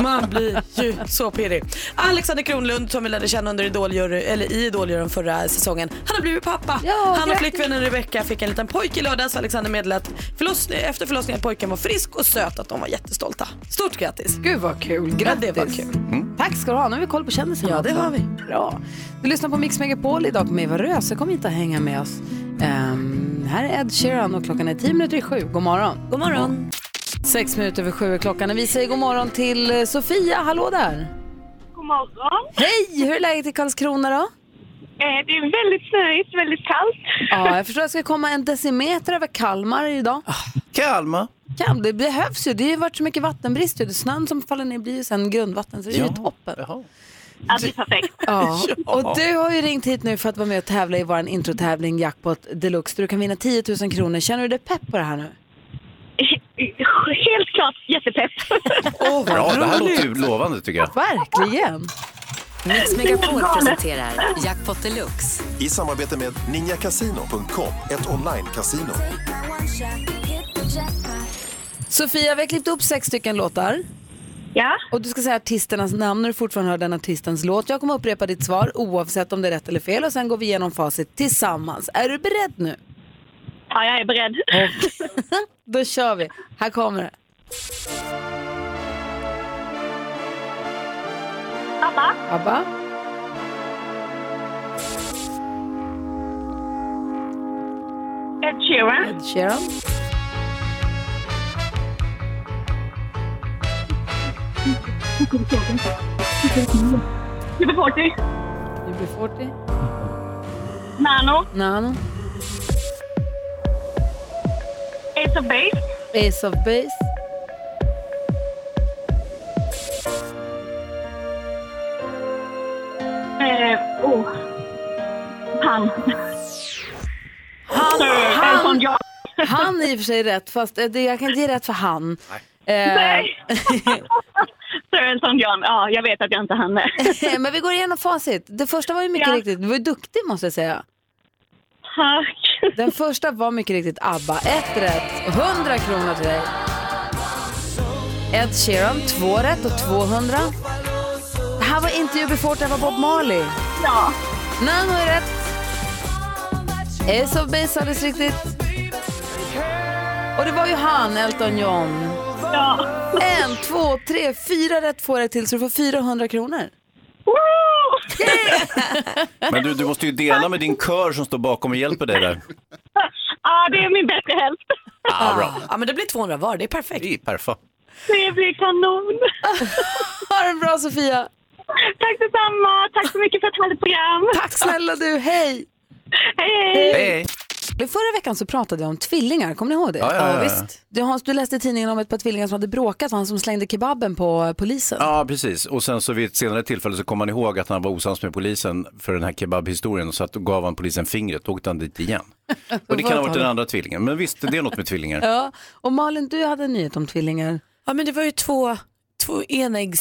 [SPEAKER 5] man blir ju så pirrig. Alexander Kronlund som vi lärde känna under Idol, eller i Idoljuryn förra säsongen, han har blivit pappa.
[SPEAKER 1] Ja,
[SPEAKER 5] han och
[SPEAKER 1] grattis.
[SPEAKER 5] flickvännen Rebecca fick en liten pojke i lördags. Alexander meddelade att förloss- efter förlossningen att pojken var frisk och söt att de var jättestolta. Stort grattis!
[SPEAKER 1] Gud vad kul, grattis.
[SPEAKER 5] Ja, det var kul.
[SPEAKER 1] Tack ska du ha, nu har vi koll på kändisarna
[SPEAKER 5] Ja, det
[SPEAKER 1] också.
[SPEAKER 5] har vi.
[SPEAKER 1] Bra. Du lyssnar på Mix Megapol idag med Eva Röse, kom hit och hänga med oss. Ehm, här är Ed Sheeran och klockan är 10 minuter i sju, god morgon.
[SPEAKER 5] God morgon!
[SPEAKER 1] Sex minuter över sju är klockan och vi säger god morgon till eh, Sofia, hallå där.
[SPEAKER 10] God morgon.
[SPEAKER 1] Hej, hur är läget i Karlskrona då?
[SPEAKER 10] Eh, Det är väldigt snöigt, väldigt kallt.
[SPEAKER 1] Ja, jag förstår att det ska komma en decimeter över Kalmar idag.
[SPEAKER 5] Ah,
[SPEAKER 2] Kalma.
[SPEAKER 1] Kan, det behövs ju, det har ju varit så mycket vattenbrist. ju. Det är Snön som faller ner blir ju sen grundvatten, så det är ju toppen.
[SPEAKER 2] Jaha.
[SPEAKER 10] Ja, det är perfekt.
[SPEAKER 1] Ja. Och du har ju ringt hit nu för att vara med och tävla i vår introtävling Jackpot Deluxe där du kan vinna 10 000 kronor. Känner du dig pepp på det här nu?
[SPEAKER 10] Helt klart jättepepp.
[SPEAKER 1] Åh,
[SPEAKER 2] Bra, det här låter ju lovande tycker jag.
[SPEAKER 1] Verkligen!
[SPEAKER 11] Mix Megapol presenterar Jackpot Deluxe.
[SPEAKER 12] I samarbete med ninjacasino.com, ett online-casino.
[SPEAKER 1] Sofia, vi har klippt upp sex stycken låtar.
[SPEAKER 10] Ja,
[SPEAKER 1] Och du ska säga artisternas namn när du fortfarande hör den artistens låt. Jag kommer upprepa ditt svar oavsett om det är rätt eller fel och sen går vi igenom facit tillsammans. Är du beredd nu?
[SPEAKER 10] ja jag är beredd.
[SPEAKER 1] Då kör vi. Här kommer det.
[SPEAKER 10] Abba,
[SPEAKER 1] ABBA.
[SPEAKER 10] Ed Sheeran,
[SPEAKER 1] Ed Sheeran.
[SPEAKER 10] Super 40,
[SPEAKER 1] UB40.
[SPEAKER 10] Nano,
[SPEAKER 1] Nano.
[SPEAKER 10] Ace of Base,
[SPEAKER 1] Ace of Base.
[SPEAKER 10] eh, oh. han. Han, Elton John.
[SPEAKER 1] Han är i och för sig rätt, fast eh, det, jag kan inte ge rätt för han. Eh,
[SPEAKER 10] Nej. Sir Elton John, ja, jag vet att jag inte hann det.
[SPEAKER 1] Eh, men vi går igenom facit. Det första var ju mycket
[SPEAKER 10] Ja.
[SPEAKER 1] riktigt, du var ju duktig måste jag säga.
[SPEAKER 10] Tack.
[SPEAKER 1] Den första var mycket riktigt ABBA. Ett rätt, 100 kronor till dig. Ed Sheeran, två rätt och 200. Det här var inte UB40, det här var Bob Marley.
[SPEAKER 10] Ja,
[SPEAKER 1] Nano är rätt. Ace of Base, alldeles riktigt. Och det var ju han, Elton John. Ja. En, två, tre, fyra rätt får jag till så du får 400 kronor.
[SPEAKER 2] Men du, du måste ju dela med din kör som står bakom och hjälper dig där.
[SPEAKER 13] Ja, det är min bättre hälft.
[SPEAKER 2] Ja, bra.
[SPEAKER 5] Ja, men det blir 200 var, det är perfekt.
[SPEAKER 2] Det är perfekt.
[SPEAKER 13] Det blir kanon.
[SPEAKER 1] ha det bra Sofia.
[SPEAKER 13] Tack detsamma. Tack så mycket för ett härligt program.
[SPEAKER 1] Tack snälla du, hej.
[SPEAKER 13] Hej,
[SPEAKER 1] I Förra veckan så pratade jag om tvillingar, kommer ni ihåg det?
[SPEAKER 2] Ja, ja, ja, ja.
[SPEAKER 1] visst. Du, Hans, du läste i tidningen om ett par tvillingar som hade bråkat, och han som slängde kebaben på eh, polisen.
[SPEAKER 2] Ja, precis. Och sen så vid ett senare tillfälle så kom han ihåg att han var osams med polisen för den här kebabhistorien. Så att då gav han polisen fingret och åkte han dit igen. Och det kan ha varit den andra tvillingen. Men visst, det är något med tvillingar.
[SPEAKER 1] Ja, och Malin, du hade en nyhet om tvillingar.
[SPEAKER 5] Ja men det var ju två, två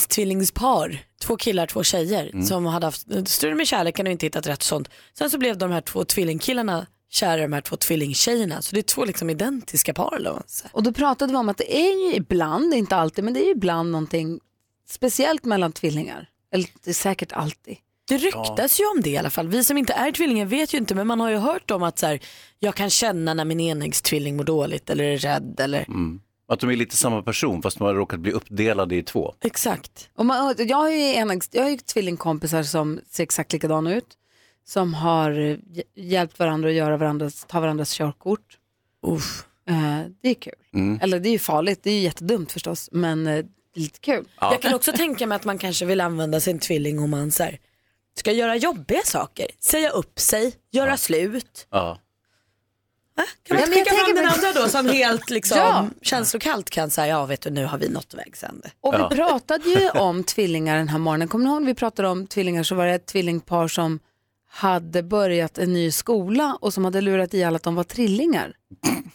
[SPEAKER 5] enäggstillingspar, två killar, två tjejer
[SPEAKER 2] Mm.
[SPEAKER 5] som hade haft strul med kärleken och inte hittat rätt och sånt. Sen så blev de här två tvillingkillarna kära i de här två tvillingtjejerna. Så det är två liksom identiska par eller vad man säger.
[SPEAKER 1] Och då pratade vi om att det är ju ibland, inte alltid, men det är ju ibland någonting speciellt mellan tvillingar. Eller det är säkert alltid.
[SPEAKER 5] Det ryktas ju om det i alla fall. Vi som inte är tvillingar vet ju inte men man har ju hört om att så här, jag kan känna när min enäggstvilling mår dåligt eller är rädd eller
[SPEAKER 2] Mm. Att de är lite samma person fast de har råkat bli uppdelade i två.
[SPEAKER 5] Exakt.
[SPEAKER 1] Och man, jag har ju, en, jag har ju tvillingkompisar som ser exakt likadana ut. Som har eh, hj- hjälpt varandra att göra varandras, ta varandras körkort.
[SPEAKER 5] Uff.
[SPEAKER 1] Eh, det är kul.
[SPEAKER 5] Mm.
[SPEAKER 1] Eller det är ju farligt, det är ju jättedumt förstås. Men eh, det är lite kul.
[SPEAKER 5] Jag kan också tänka mig att man kanske vill använda sin tvilling om man så här, ska göra jobbiga saker. Säga upp sig, göra slut.
[SPEAKER 2] Ja.
[SPEAKER 5] Kan man
[SPEAKER 1] Ja,
[SPEAKER 5] inte
[SPEAKER 1] men jag
[SPEAKER 5] skicka fram
[SPEAKER 1] tänker
[SPEAKER 5] den
[SPEAKER 1] mig-
[SPEAKER 5] andra då som helt liksom,
[SPEAKER 1] Ja.
[SPEAKER 5] känslokallt kan säga ja vet du nu har vi nått vägs ände.
[SPEAKER 1] Och vi pratade ju om tvillingar den här morgonen. Kommer ni ihåg när vi pratade om tvillingar så var det ett tvillingpar som hade börjat en ny skola och som hade lurat i alla att de var trillingar.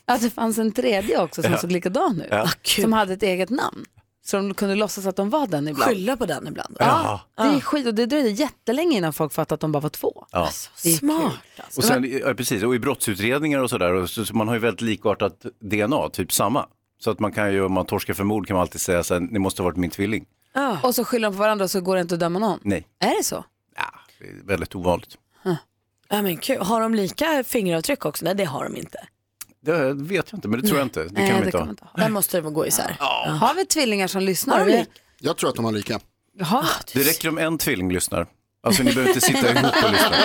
[SPEAKER 1] Att det fanns en tredje också som
[SPEAKER 5] Ja.
[SPEAKER 1] såg likadan ut.
[SPEAKER 5] Ja. Ah, kul.
[SPEAKER 1] som hade ett eget namn. Så de kunde låtsas att de var den ibland.
[SPEAKER 5] Skylla på den ibland.
[SPEAKER 1] Ja.
[SPEAKER 5] Ja.
[SPEAKER 1] Det är skit och det dröjde jättelänge innan folk fattade att de bara var två.
[SPEAKER 2] Ja.
[SPEAKER 1] Det är
[SPEAKER 5] Smart.
[SPEAKER 1] kul.
[SPEAKER 2] Och sen, ja, precis, och i brottsutredningar och sådär, och så, så man har ju väldigt likartat DNA, typ samma. Så att man kan ju, om man torskar för mord kan man alltid säga så här, ni måste ha varit min tvilling.
[SPEAKER 1] Och så skyller de på varandra och så går det inte att döma någon.
[SPEAKER 2] Nej,
[SPEAKER 1] Är det så?
[SPEAKER 2] det är väldigt ovanligt.
[SPEAKER 5] Ja, men kul. Har de lika fingeravtryck också? Nej det har de inte.
[SPEAKER 2] Det vet jag inte, men det tror jag inte. Det kan
[SPEAKER 1] Nej,
[SPEAKER 2] de
[SPEAKER 1] det
[SPEAKER 2] inte
[SPEAKER 1] kan
[SPEAKER 2] ha.
[SPEAKER 1] man
[SPEAKER 5] Där måste det gå isär.
[SPEAKER 1] Har vi tvillingar som lyssnar?
[SPEAKER 5] Har de
[SPEAKER 1] Vi-
[SPEAKER 9] Jag tror att de har lika.
[SPEAKER 1] Jaha.
[SPEAKER 2] Det räcker om en tvilling lyssnar. Alltså ni behöver inte sitta ihop och lyssna.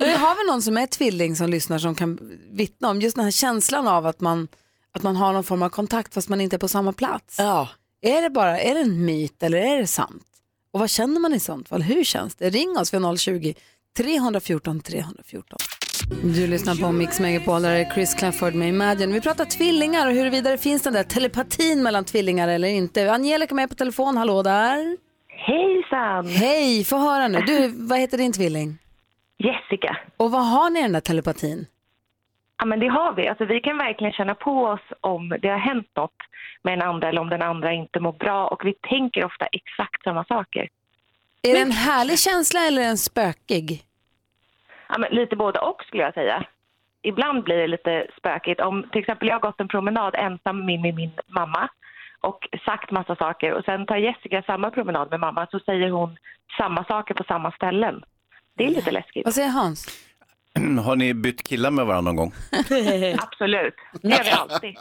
[SPEAKER 1] Vi har väl någon som är tvilling som lyssnar som kan vittna om just den här känslan av att man, att man har någon form av kontakt fast man inte är på samma plats.
[SPEAKER 5] Ja.
[SPEAKER 1] Är det bara är det en myt eller är det sant? Och vad känner man i sånt fall? Hur känns det? Ring oss vid 020-314 314. Du lyssnar på Mix Megapol, där är Chris Clafford med Imagine. Vi pratar tvillingar och huruvida det finns den där telepatin mellan tvillingar eller inte. Angelica är med på telefon, hallå där.
[SPEAKER 14] Hejsan!
[SPEAKER 1] Hej, få höra nu. Du, vad heter din tvilling?
[SPEAKER 14] Jessica.
[SPEAKER 1] Och vad har ni i den där telepatin?
[SPEAKER 14] Ja, men det har vi. Alltså, vi kan verkligen känna på oss om det har hänt något med den andra eller om den andra inte mår bra och vi tänker ofta exakt samma saker.
[SPEAKER 1] Är det en härlig känsla eller en spökig?
[SPEAKER 14] Ja, men lite både och skulle jag säga. Ibland blir det lite spökigt. Om till exempel jag har gått en promenad ensam med min, min mamma och sagt massa saker och sen tar Jessica samma promenad med mamma så säger hon samma saker på samma ställen. Det är lite läskigt.
[SPEAKER 1] Vad säger Hans?
[SPEAKER 2] Har ni bytt killar med varandra någon gång?
[SPEAKER 14] Absolut, det gör vi alltid.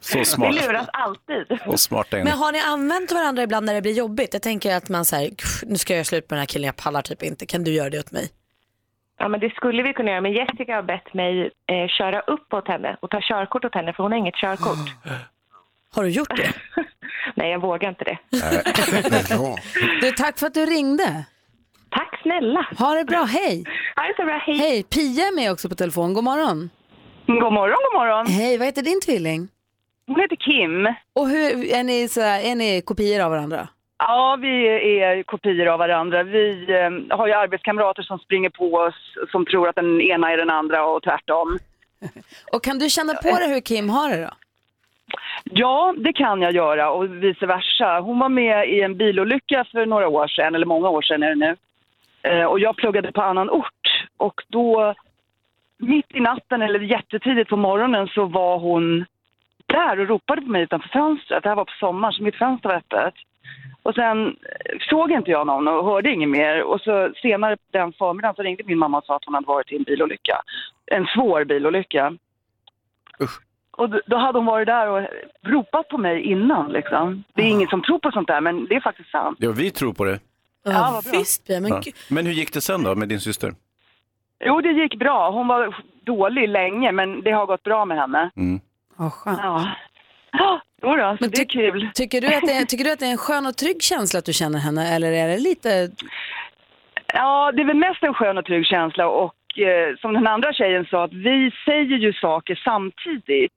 [SPEAKER 2] Så smart.
[SPEAKER 14] Vi luras alltid.
[SPEAKER 2] Och smarta är ni.
[SPEAKER 5] Men har ni använt varandra ibland när det blir jobbigt? Jag tänker att man säger nu ska jag göra slut med den här killen, jag pallar typ inte, kan du göra det åt mig?
[SPEAKER 14] Ja, men det skulle vi kunna göra, men Jessica har bett mig eh, köra upp åt henne och ta körkort åt henne, för hon har inget körkort.
[SPEAKER 5] Har du gjort det?
[SPEAKER 14] Nej, jag vågar inte det.
[SPEAKER 1] Du, tack för att du ringde.
[SPEAKER 14] Tack snälla.
[SPEAKER 1] Ha det bra, hej.
[SPEAKER 14] Ha det så bra, hej.
[SPEAKER 1] Hej, Pia är med också på telefon. God morgon.
[SPEAKER 15] God morgon, god morgon.
[SPEAKER 1] Hej, vad heter din tvilling?
[SPEAKER 15] Hon heter Kim.
[SPEAKER 1] Och hur, är, ni så här, är ni kopior av varandra?
[SPEAKER 15] Ja, vi är kopior av varandra. Vi eh, har ju arbetskamrater som springer på oss som tror att den ena är den andra och tvärtom.
[SPEAKER 1] Och kan du känna på dig hur Kim har det då?
[SPEAKER 15] Ja, det kan jag göra och vice versa. Hon var med i en bilolycka för några år sedan, eller många år sedan är det nu. Eh, Och jag pluggade på annan ort och då mitt i natten eller jättetidigt på morgonen så var hon där och ropade på mig utanför fönstret. Det här var på sommaren så mitt fönster var öppet. Och sen eh, såg inte jag någon och hörde inget mer. Och så senare den förmiddagen så ringde min mamma och sa att hon hade varit i en bilolycka. en svår bilolycka. Och då- då hade hon varit där och ropat på mig innan liksom. Det är ingen som tror på sånt där men det är faktiskt sant.
[SPEAKER 2] Ja, vi tror på det.
[SPEAKER 15] Ja, vad bra.
[SPEAKER 5] Visst, men
[SPEAKER 2] Ja. Men hur gick det sen då med din syster?
[SPEAKER 15] Jo, det gick bra. Hon var dålig länge, men det har gått bra med henne.
[SPEAKER 2] Mm.
[SPEAKER 1] Vad skönt.
[SPEAKER 15] Ja. Ja, då, då, så det är kul.
[SPEAKER 1] Tycker du, att det är, tycker du att det är en skön och trygg känsla att du känner henne eller är det lite...
[SPEAKER 15] Ja, det är väl mest en skön och trygg känsla och eh, som den andra tjejen sa, att vi säger ju saker samtidigt.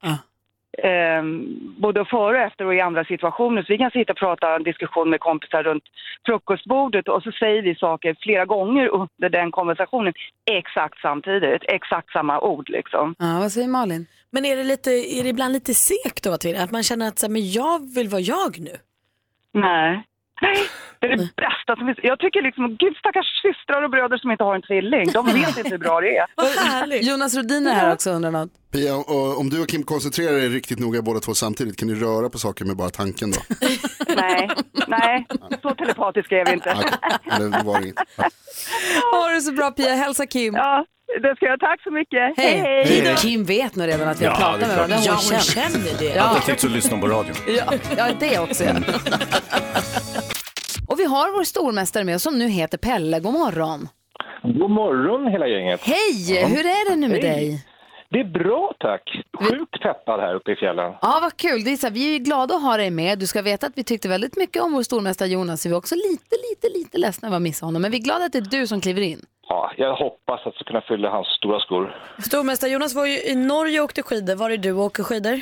[SPEAKER 15] Ehm, både före och efter och i andra situationer. Så vi kan sitta och prata en diskussion med kompisar runt frukostbordet och så säger vi saker flera gånger under den konversationen exakt samtidigt, exakt samma ord liksom.
[SPEAKER 1] Ja, vad säger Malin?
[SPEAKER 4] Men är det, lite, är det ibland lite segt att vara tvilling? Att man känner att så här, men jag vill vara jag nu?
[SPEAKER 15] Nej. Nej, det är det bästa som finns. Jag tycker liksom, gud stackars systrar och bröder som inte har en tvilling. De vet inte hur bra det är.
[SPEAKER 1] Jonas Rhodin är här också undrar något.
[SPEAKER 9] Pia, och om du och Kim koncentrerar er riktigt noga båda två samtidigt, kan ni röra på saker med bara tanken då?
[SPEAKER 15] Nej, nej, så telepatiska är vi inte.
[SPEAKER 9] Eller var det inget?
[SPEAKER 1] Ha det så bra Pia, hälsa Kim.
[SPEAKER 15] Ja, det ska jag. Tack så mycket.
[SPEAKER 1] Hej.
[SPEAKER 15] Hej, hej. Hej då.
[SPEAKER 1] Kim vet nog redan att vi har
[SPEAKER 2] Ja,
[SPEAKER 1] pratat
[SPEAKER 2] det är
[SPEAKER 1] med varandra.
[SPEAKER 2] klart. Ja, hon
[SPEAKER 1] känner det.
[SPEAKER 2] Ja.
[SPEAKER 1] Ja,
[SPEAKER 2] Alternativt så lyssna på radion.
[SPEAKER 1] ja, ja det också. Ja. Och vi har vår stormästare med oss som nu heter Pelle. God morgon.
[SPEAKER 16] God morgon hela gänget.
[SPEAKER 1] Hej, hur är det nu med dig?
[SPEAKER 16] Det är bra tack. Sjukt peppad här uppe i fjällen.
[SPEAKER 1] Ja, vad kul. Det är så här, vi är ju glada att ha dig med. Du ska veta att vi tyckte väldigt mycket om vår stormästare Jonas. Vi var också lite, lite, lite ledsna över att missa honom. Men vi är glada att det är du som kliver in.
[SPEAKER 16] Ja, jag hoppas att jag ska kunna fylla hans stora skor.
[SPEAKER 4] Stormästare Jonas var ju i Norge och åkte skidor. Var är du och åker skidor?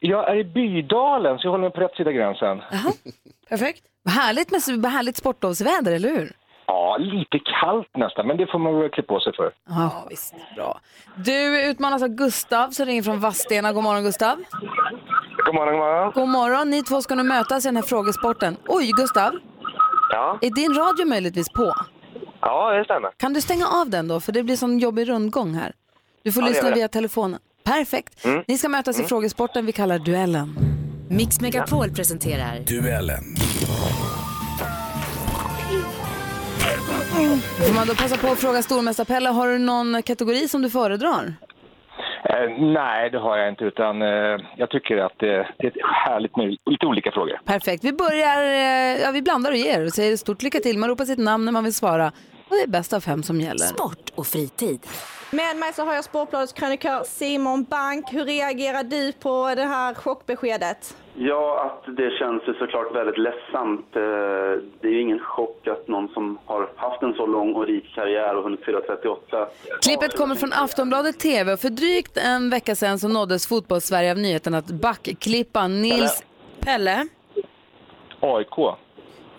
[SPEAKER 16] Jag är i Bydalen, så jag håller mig på rätt sida gränsen.
[SPEAKER 1] Perfekt. Vad härligt med vad härligt sportlovsväder, eller hur?
[SPEAKER 16] Ja, lite kallt nästan, men det får man väl klä på sig för.
[SPEAKER 1] Ja, visst. Bra. Du utmanas av Gustav som ringer från Vadstena. God morgon Gustav.
[SPEAKER 16] God morgon, god morgon.
[SPEAKER 1] God morgon. Ni två ska nu mötas i den här frågesporten. Oj, Gustav.
[SPEAKER 16] Ja,
[SPEAKER 1] Är din radio möjligtvis på?
[SPEAKER 16] ja det stämmer.
[SPEAKER 1] Kan du stänga av den då? För det blir sån jobbig rundgång här. Du får
[SPEAKER 11] Ja, det gör
[SPEAKER 1] lyssna
[SPEAKER 11] jag.
[SPEAKER 1] via telefonen. Perfekt.
[SPEAKER 11] Mm.
[SPEAKER 1] Ni ska mötas i
[SPEAKER 11] Mm.
[SPEAKER 1] frågesporten vi kallar duellen.
[SPEAKER 11] Mix Megapol presenterar
[SPEAKER 12] Duellen.
[SPEAKER 1] Får man då passa på att fråga stormästarpelle, har du någon kategori som du föredrar?
[SPEAKER 16] Eh, nej, det har jag inte, utan eh, jag tycker att eh, det är ett härligt med lite olika frågor.
[SPEAKER 1] Perfekt. Vi börjar, eh, ja vi blandar och ger och säger stort lycka till. Man ropar sitt namn när man vill svara. Och det är bäst av fem som gäller. Sport och fritid.
[SPEAKER 17] Med mig så har jag Sportbladets krönikör Simon Bank. Hur reagerar du på det här chockbeskedet?
[SPEAKER 18] Ja, att det känns ju såklart väldigt ledsamt. Eh, Det är ju ingen chock att någon som har haft en så lång och rik karriär och hunnit fylla 38...
[SPEAKER 1] Klippet kommer från Aftonbladet TV och för drygt en vecka sedan så nåddes fotbollssverige av nyheten att backklippan Nils
[SPEAKER 4] Pelle?
[SPEAKER 16] AIK.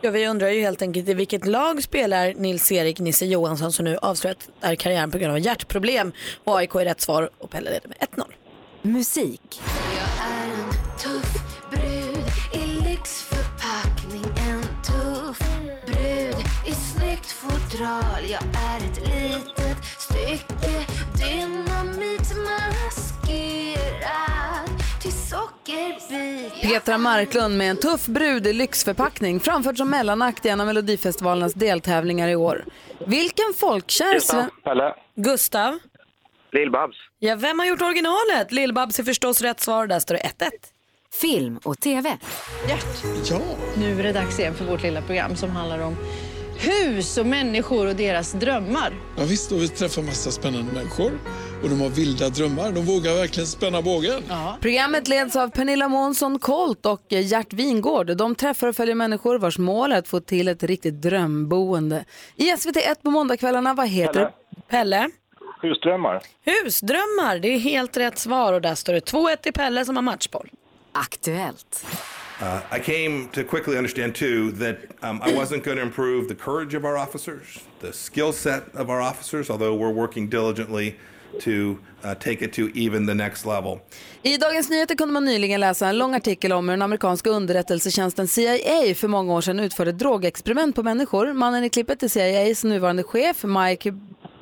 [SPEAKER 4] Ja, vi undrar ju helt enkelt i vilket lag spelar Nils-Erik Nisse Johansson som nu avslutat är karriären på grund av hjärtproblem. Och AIK är rätt svar och Pelle leder med 1-0.
[SPEAKER 11] musik.
[SPEAKER 19] Jag är en tuff brud i lyxförpackning En tuff brud i snyggt fodral Jag är ett litet stycke dynamit maskerad till sockerbit
[SPEAKER 1] Petra Marklund med en tuff brud i lyxförpackning framförd som mellanakt i en av Melodifestivalens deltävlingar i år. Vilken folkkär sven-
[SPEAKER 16] Pelle.
[SPEAKER 4] Gustav?
[SPEAKER 16] Lill-Babs.
[SPEAKER 4] Ja, vem har gjort originalet? Lill-Babs är förstås rätt svar. Där står det 1-1. Film och TV.
[SPEAKER 20] Ja. Nu är det dags igen för vårt lilla program som handlar om hus och människor och deras drömmar.
[SPEAKER 21] Ja, visst, och vi träffar massa spännande människor och de har vilda drömmar. De vågar verkligen spänna bågen.
[SPEAKER 1] Programmet leds av Pernilla Månsson Colt och Gert Wingård. De träffar och följer människor vars mål är att få till ett riktigt drömboende. I SVT1 på måndagskvällarna, vad heter
[SPEAKER 16] Pelle.
[SPEAKER 4] Pelle?
[SPEAKER 16] Husdrömmar.
[SPEAKER 4] Husdrömmar, det är helt rätt svar och där står det 2-1 till Pelle som har matchboll. Aktuellt.
[SPEAKER 22] Uh, I came to quickly understand, too, that um, I wasn't going to improve the courage of our officers, the skill set of our officers, although we're working diligently to uh, take it to even the next level.
[SPEAKER 1] I Dagens Nyheter kunde man nyligen läsa en lång artikel om hur den amerikanska underrättelsetjänsten CIA för många år sedan utförde drogexperiment på människor. Mannen i klippet är CIAs nuvarande chef, Mike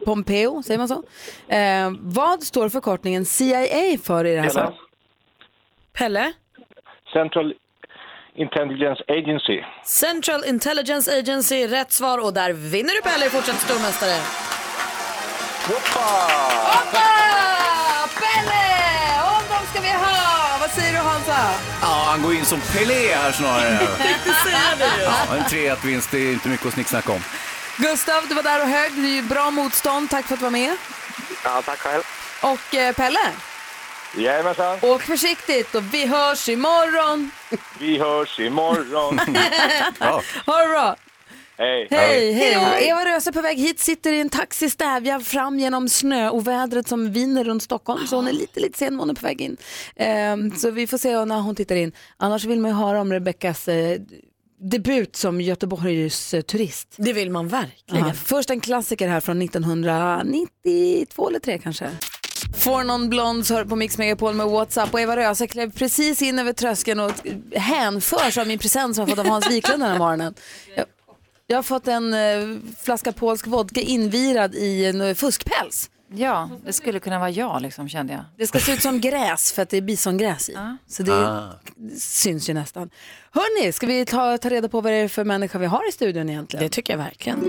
[SPEAKER 1] Pompeo, säger man så? Eh, vad står förkortningen CIA för i det alltså- här
[SPEAKER 16] Pelle.
[SPEAKER 1] sammanhanget?
[SPEAKER 4] Pelle?
[SPEAKER 16] Central Intelligence Agency.
[SPEAKER 4] Central Intelligence Agency, rätt svar och där vinner du Pelle i fortsatt stormästare.
[SPEAKER 16] Hoppa!
[SPEAKER 4] Hoppa!
[SPEAKER 2] han går in som Pelé här snarare.
[SPEAKER 4] tänkte säga det
[SPEAKER 2] Ja, en 3-1 vinst, det är inte mycket att snicksnacka om.
[SPEAKER 1] Gustav, du var där och högg. Det är ju bra motstånd. Tack för att du var med.
[SPEAKER 16] Ja, tack själv.
[SPEAKER 1] Och eh, Pelle,
[SPEAKER 16] Jajamensan.
[SPEAKER 1] åk försiktigt och vi hörs imorgon.
[SPEAKER 16] Vi hörs imorgon.
[SPEAKER 1] ha det bra.
[SPEAKER 16] Hej.
[SPEAKER 1] Hej, hej. då. Eva Röse på väg hit sitter i en taxi stävjad fram genom snö och vädret som viner runt Stockholm. Så hon är lite, lite sen, men hon är på väg in. Ehm, så vi får se när hon tittar in. Annars vill man ju höra om Rebeckas eh, debut som Göteborgs eh, turist.
[SPEAKER 4] Det vill man verkligen.
[SPEAKER 1] Ja, först en klassiker här från 1992 eller 3 kanske. Får någon blond hör på Mix Megapol med WhatsApp och Eva Röse klev precis in över tröskeln och hänförs av min present som jag fått av Hans Wiklund den här morgonen. Jag, jag har fått en eh, flaska polsk vodka invirad i en eh, fuskpäls.
[SPEAKER 23] Ja, det skulle kunna vara jag liksom kände jag.
[SPEAKER 1] Det ska se ut som gräs för att det är bisongräs i. Så det
[SPEAKER 23] Ah.
[SPEAKER 1] syns ju nästan. Hörni, ska vi ta, ta reda på vad det är för människa vi har i studion egentligen? Det tycker jag verkligen.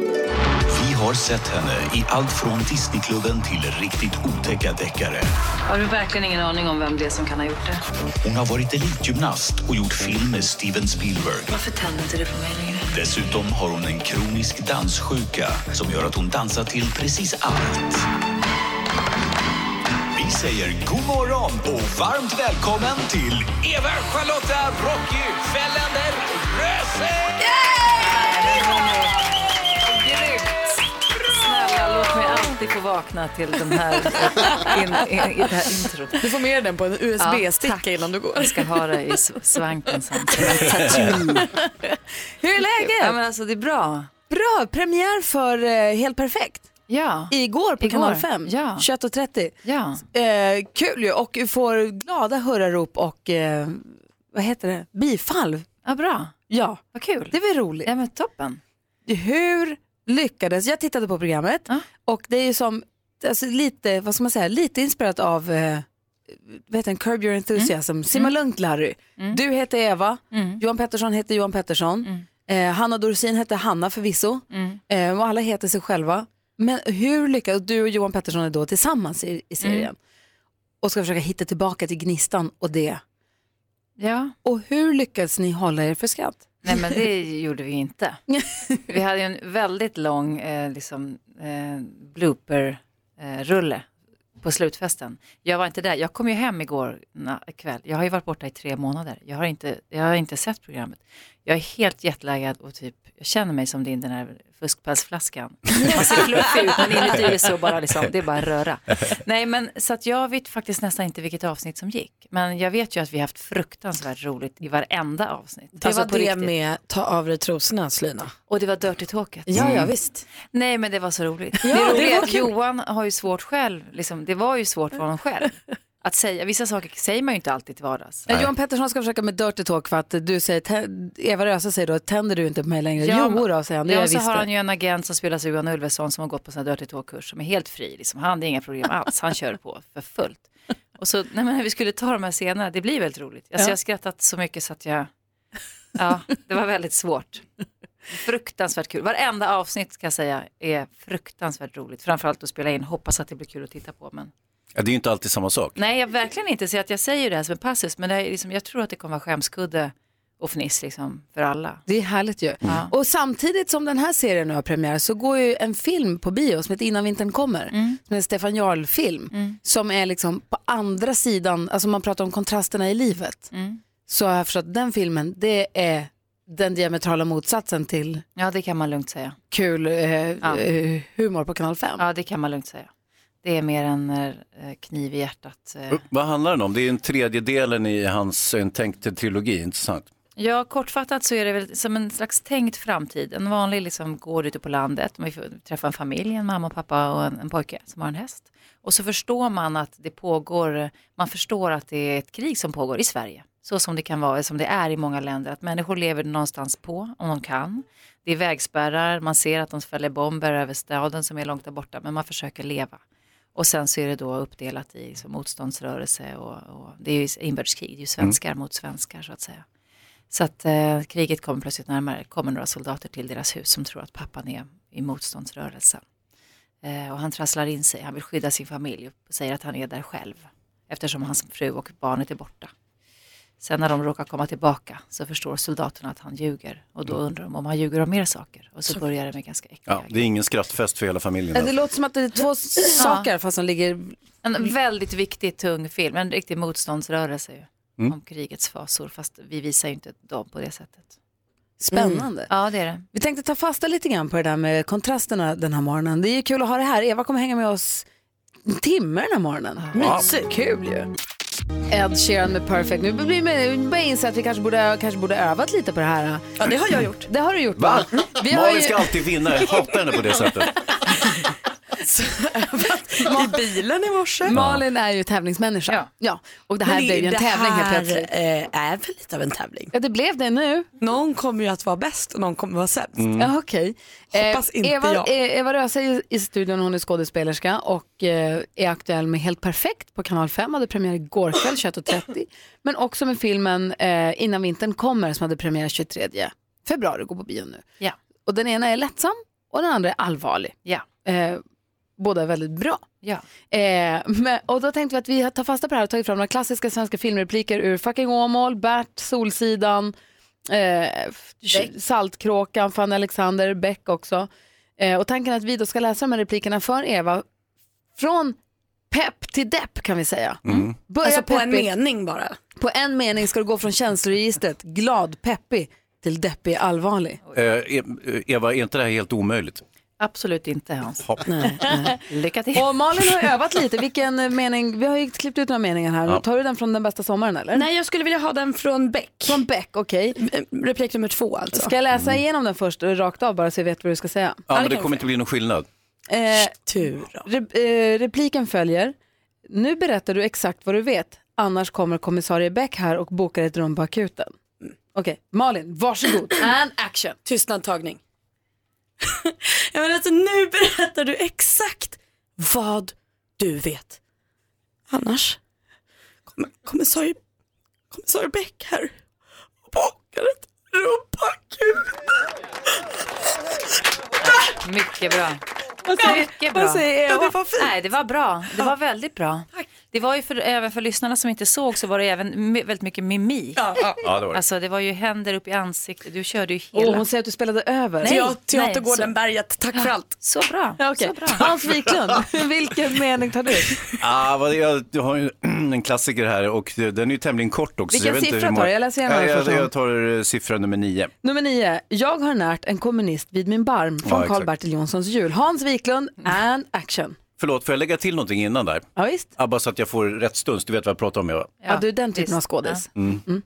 [SPEAKER 24] Vi har sett henne i allt från Disneyklubben till riktigt otäcka deckare.
[SPEAKER 25] Har du verkligen ingen aning om vem det är som kan ha gjort det?
[SPEAKER 24] Hon har varit elitgymnast och gjort film med Steven Spielberg.
[SPEAKER 25] Varför tänder inte du på mig längre?
[SPEAKER 24] Dessutom har hon en kronisk danssjuka som gör att hon dansar till precis allt. Vi säger god morgon och varmt välkommen till Eva-Charlotta Rocky Fällander Röse!
[SPEAKER 23] Snälla låt mig alltid få vakna till den här, in, in, i det här introt.
[SPEAKER 4] Du får med den på en USB-sticka
[SPEAKER 23] tack.
[SPEAKER 4] innan du går.
[SPEAKER 23] Jag ska ha det i s- svanken sen.
[SPEAKER 1] Hur är läget?
[SPEAKER 23] Ja, men alltså, det är bra.
[SPEAKER 1] Bra, premiär för eh, Helt Perfekt.
[SPEAKER 23] Ja.
[SPEAKER 1] Igår på
[SPEAKER 23] Igår,
[SPEAKER 1] Kanal 5,
[SPEAKER 23] ja.
[SPEAKER 1] 21.30.
[SPEAKER 23] Ja.
[SPEAKER 1] Eh, kul ju och får glada hurrarop och eh, vad heter det? bifall.
[SPEAKER 23] Ja, bra.
[SPEAKER 1] Ja.
[SPEAKER 23] Vad kul.
[SPEAKER 1] Det var roligt.
[SPEAKER 23] Ja, men toppen.
[SPEAKER 1] Hur lyckades, jag tittade på programmet och det är ju som, alltså lite, vad ska man säga, lite inspirerat av eh, vad heter den, Curb Your Enthusiasm,
[SPEAKER 23] Mm.
[SPEAKER 1] Simma Lugnt Larry. Du heter Eva, Johan Pettersson heter Johan
[SPEAKER 23] Mm.
[SPEAKER 1] Pettersson, eh, Hanna Dorsin heter Hanna förvisso eh, och alla heter sig själva. Men hur lyckades, du och Johan Pettersson är då tillsammans i, i serien
[SPEAKER 23] Mm.
[SPEAKER 1] och ska försöka hitta tillbaka till gnistan och det.
[SPEAKER 23] Ja.
[SPEAKER 1] Och hur lyckades ni hålla er för skratt?
[SPEAKER 23] Nej, men det gjorde vi inte. Vi hade ju en väldigt lång eh, liksom, eh, blooper-rulle på slutfesten. Jag var inte där. Jag kom ju hem igår na- kväll. Jag har ju varit borta i tre månader. Jag har inte, jag har inte sett programmet. Jag är helt jetlaggad och typ, jag känner mig som din den här fuskpälsflaskan. Man ser fluffig ut men inuti är det så bara liksom, det är bara röra. Nej men så att jag vet faktiskt nästan inte vilket avsnitt som gick. Men jag vet ju att vi har haft fruktansvärt roligt i varenda avsnitt.
[SPEAKER 4] Det
[SPEAKER 23] Alltså,
[SPEAKER 4] var
[SPEAKER 23] på
[SPEAKER 4] det
[SPEAKER 23] riktigt.
[SPEAKER 4] med ta av dig trosorna, Slina.
[SPEAKER 23] Och det var Dirty Talket.
[SPEAKER 4] Ja, ja, visst.
[SPEAKER 23] Nej, men det var så roligt.
[SPEAKER 4] Ja,
[SPEAKER 23] det
[SPEAKER 4] det
[SPEAKER 23] roliga är
[SPEAKER 4] var
[SPEAKER 23] att
[SPEAKER 4] kul.
[SPEAKER 23] Johan har ju svårt själv, liksom, det var ju svårt för honom själv. Att säga, vissa saker säger man ju inte alltid till vardags.
[SPEAKER 1] Nej. Eh, Johan Pettersson ska försöka med dirty talk för att du säger, tä- Eva Röse säger då, tänder du inte på mig längre?
[SPEAKER 23] Ja,
[SPEAKER 1] jo då, säger han, det
[SPEAKER 23] ja,
[SPEAKER 1] gör jag
[SPEAKER 23] så
[SPEAKER 1] visst.
[SPEAKER 23] har
[SPEAKER 1] det."
[SPEAKER 23] han ju en agent som spelas av Johan Ulveson som har gått på sån här Dirty Talk-kurs som är helt fri. Liksom. Han, det är inga problem alls, han kör på för fullt. Och så, nej men vi skulle ta de här scenerna, det blir väldigt roligt. Alltså, Ja. Jag har skrattat så mycket så att jag, ja, det var väldigt svårt. Fruktansvärt kul. Varenda avsnitt ska jag säga är fruktansvärt roligt. Framförallt att spela in, hoppas att det blir kul att titta på. Men...
[SPEAKER 2] Ja, det är ju inte alltid samma sak.
[SPEAKER 23] Nej, jag verkligen inte. Så att jag säger det här som en passus, men det är liksom, jag tror att det kommer vara skämskudde och fniss liksom, för alla.
[SPEAKER 1] Det är härligt ju. Och samtidigt som den här serien nu har premiär så går ju en film på bio som heter Innan vintern kommer.
[SPEAKER 23] Mm.
[SPEAKER 1] Som är en Stefan Jarl-film. Som är liksom på andra sidan, alltså man pratar om kontrasterna i livet.
[SPEAKER 23] Mm.
[SPEAKER 1] Så har jag förstått den filmen, det är den diametrala motsatsen till
[SPEAKER 23] Ja, det kan man lugnt säga.
[SPEAKER 1] kul eh,
[SPEAKER 23] Ja.
[SPEAKER 1] eh, humor på Kanal 5.
[SPEAKER 23] Ja, det kan man lugnt säga. Det är mer en eh, kniv i hjärtat. eh.
[SPEAKER 2] Vad handlar den om? Det är en tredjedelen i hans en tänkt trilogi, intressant.
[SPEAKER 23] Ja, kortfattat så är det väl som en slags tänkt framtid. En vanlig liksom går ute på landet, vi får träffa en familj, en mamma och pappa och en, en pojke som har en häst. Och så förstår man att det pågår, man förstår att det är ett krig som pågår i Sverige. Så som det kan vara, som det är i många länder, att människor lever någonstans på om de kan. Det är vägspärrar, man ser att de fäller bomber över staden som är långt där borta, men man försöker leva. Och sen så är det då uppdelat i så motståndsrörelse och, och det är ju inbördeskrig, det är ju svenskar mot svenskar så att säga. Så att eh, kriget kommer plötsligt närmare, kommer några soldater till deras hus som tror att pappan är i motståndsrörelsen. Eh, och han trasslar in sig, han vill skydda sin familj och säger att han är där själv eftersom hans fru och barnet är borta. Sen när de råkar komma tillbaka så förstår soldaterna att han ljuger och då undrar de om han ljuger om mer saker. Och så börjar det med ganska äckligt.
[SPEAKER 2] Ja, det är ingen skrattfest för hela familjen.
[SPEAKER 1] Ja, det låter som att det är två saker
[SPEAKER 23] Ja.
[SPEAKER 1] fast som ligger...
[SPEAKER 23] En väldigt viktig, tung film, en riktig motståndsrörelse ju,
[SPEAKER 2] Mm.
[SPEAKER 23] om krigets fasor, fast vi visar ju inte dem på det sättet.
[SPEAKER 1] Spännande.
[SPEAKER 23] Ja, det är det.
[SPEAKER 1] Vi tänkte ta fasta lite grann på det där med kontrasterna den här morgonen. Det är ju kul att ha det här. Eva kommer hänga med oss en timme den här morgonen.
[SPEAKER 19] Ja.
[SPEAKER 1] Mysigt. Kul ju. Ed Sheeran med Perfect. Nu blir vi börjar inse att vi kanske borde, kanske borde övat lite på det här. Ja, det har jag gjort. Det har du gjort.
[SPEAKER 2] Va?
[SPEAKER 1] Vi har
[SPEAKER 2] Malin
[SPEAKER 1] ju-
[SPEAKER 2] ska alltid vinna, jag hatar henne på det sättet.
[SPEAKER 4] I bilen i morse.
[SPEAKER 1] Malin är ju tävlingsmänniska. Ja. Och det här
[SPEAKER 4] Men
[SPEAKER 1] blev ju en
[SPEAKER 4] det
[SPEAKER 1] tävling helt
[SPEAKER 4] här,
[SPEAKER 1] plötsligt.
[SPEAKER 4] eh, är väl lite av en tävling?
[SPEAKER 1] Ja, det blev det nu.
[SPEAKER 4] Någon kommer ju att vara bäst och någon kommer vara sämst.
[SPEAKER 5] Mm.
[SPEAKER 1] Ja, okej.
[SPEAKER 4] Hoppas inte
[SPEAKER 1] Eva,
[SPEAKER 4] jag.
[SPEAKER 1] eh, Eva Röse är i studion, hon är skådespelerska och eh, är aktuell med Helt perfekt på Kanal 5, hade premiär igår kväll 21.30. Men också med filmen eh, Innan vintern kommer som hade premiär 23 februari, går på bio nu.
[SPEAKER 23] Ja.
[SPEAKER 1] Och den ena är lättsam och den andra är allvarlig.
[SPEAKER 23] Ja.
[SPEAKER 1] Eh, båda är väldigt bra.
[SPEAKER 23] Ja.
[SPEAKER 1] Eh, men, och då tänkte vi att vi tar fasta på det här och tagit fram några klassiska svenska filmrepliker ur Fucking Åmål, Bert, Solsidan, eh, Saltkråkan, Fanny Alexander, Beck också. Eh, och tanken är att vi då ska läsa de här replikerna för Eva från pepp till depp kan vi säga.
[SPEAKER 2] Mm.
[SPEAKER 1] Börja
[SPEAKER 4] Alltså på en
[SPEAKER 1] peppigt.
[SPEAKER 4] mening bara.
[SPEAKER 1] På en mening ska du gå från känsloregistret glad, peppig till deppig, allvarlig.
[SPEAKER 2] Eh, E- Eva, är inte det här helt omöjligt?
[SPEAKER 23] Absolut inte Hans.
[SPEAKER 2] Hopp.
[SPEAKER 23] Lycka till.
[SPEAKER 1] Och Malin har ju övat lite, vilken eh, mening, vi har ju klippt ut några meningar här,
[SPEAKER 2] Ja.
[SPEAKER 1] tar du den från den bästa sommaren eller?
[SPEAKER 4] Nej, jag skulle vilja ha den från Beck. Eh,
[SPEAKER 1] Från Beck, okej.
[SPEAKER 4] Replik nummer två alltså.
[SPEAKER 1] Ska jag läsa igenom den först och rakt av bara så jag vet vad du ska säga?
[SPEAKER 2] Ja, men det kommer inte bli någon skillnad.
[SPEAKER 1] Eh, re- eh, repliken följer. Nu berättar du exakt vad du vet, annars kommer kommissarie Beck här och bokar ett rum på akuten.
[SPEAKER 4] Mm.
[SPEAKER 1] Okej, Malin, varsågod. And action.
[SPEAKER 4] Tystnadtagning. jag menar alltså nu berättar du exakt vad du vet. Annars kommer kommissarie, kommissarie Beck här och bakar ett rum på akuten.
[SPEAKER 23] Mycket bra.
[SPEAKER 4] Vad säger-
[SPEAKER 23] Mycket
[SPEAKER 4] vad
[SPEAKER 23] bra.
[SPEAKER 4] säger Eva? Ja, det var fint.
[SPEAKER 23] Nej, det var bra. Det var väldigt bra. Det var ju för, även för lyssnarna som inte såg så var det även my- väldigt mycket mimik.
[SPEAKER 2] Ja, det var det.
[SPEAKER 23] Alltså det var ju händer upp i ansiktet. Du körde ju hela.
[SPEAKER 1] Och hon säger att du spelade över.
[SPEAKER 23] Nej, Teater- nej, Teatergården så-
[SPEAKER 4] Berget, tack för allt.
[SPEAKER 23] Så bra.
[SPEAKER 1] Ja, okay. Hans Wiklund, vilken mening tar du?
[SPEAKER 2] Ah, vad, jag, jag har ju en klassiker här och det- den är ju tämligen kort också. så
[SPEAKER 1] Vilken
[SPEAKER 2] jag vet inte
[SPEAKER 1] siffra
[SPEAKER 2] hur
[SPEAKER 1] tar du? Jag läser gärna
[SPEAKER 2] ja,
[SPEAKER 1] den
[SPEAKER 2] jag,
[SPEAKER 1] första.
[SPEAKER 2] jag tar eh, siffra nummer nio.
[SPEAKER 1] Nummer nio, jag har närt en kommunist vid min barm
[SPEAKER 2] Ja,
[SPEAKER 1] från
[SPEAKER 2] exakt.
[SPEAKER 1] Carl-Bertil Jonssons jul. Hans Wiklund, and action.
[SPEAKER 2] Förlåt, får jag lägga till någonting innan där?
[SPEAKER 1] Ja, visst.
[SPEAKER 2] Ah, bara så att jag får rätt stuns. Du vet vad jag pratar om, Eva?
[SPEAKER 1] Ja, du är den typen av skådis.
[SPEAKER 2] Mm.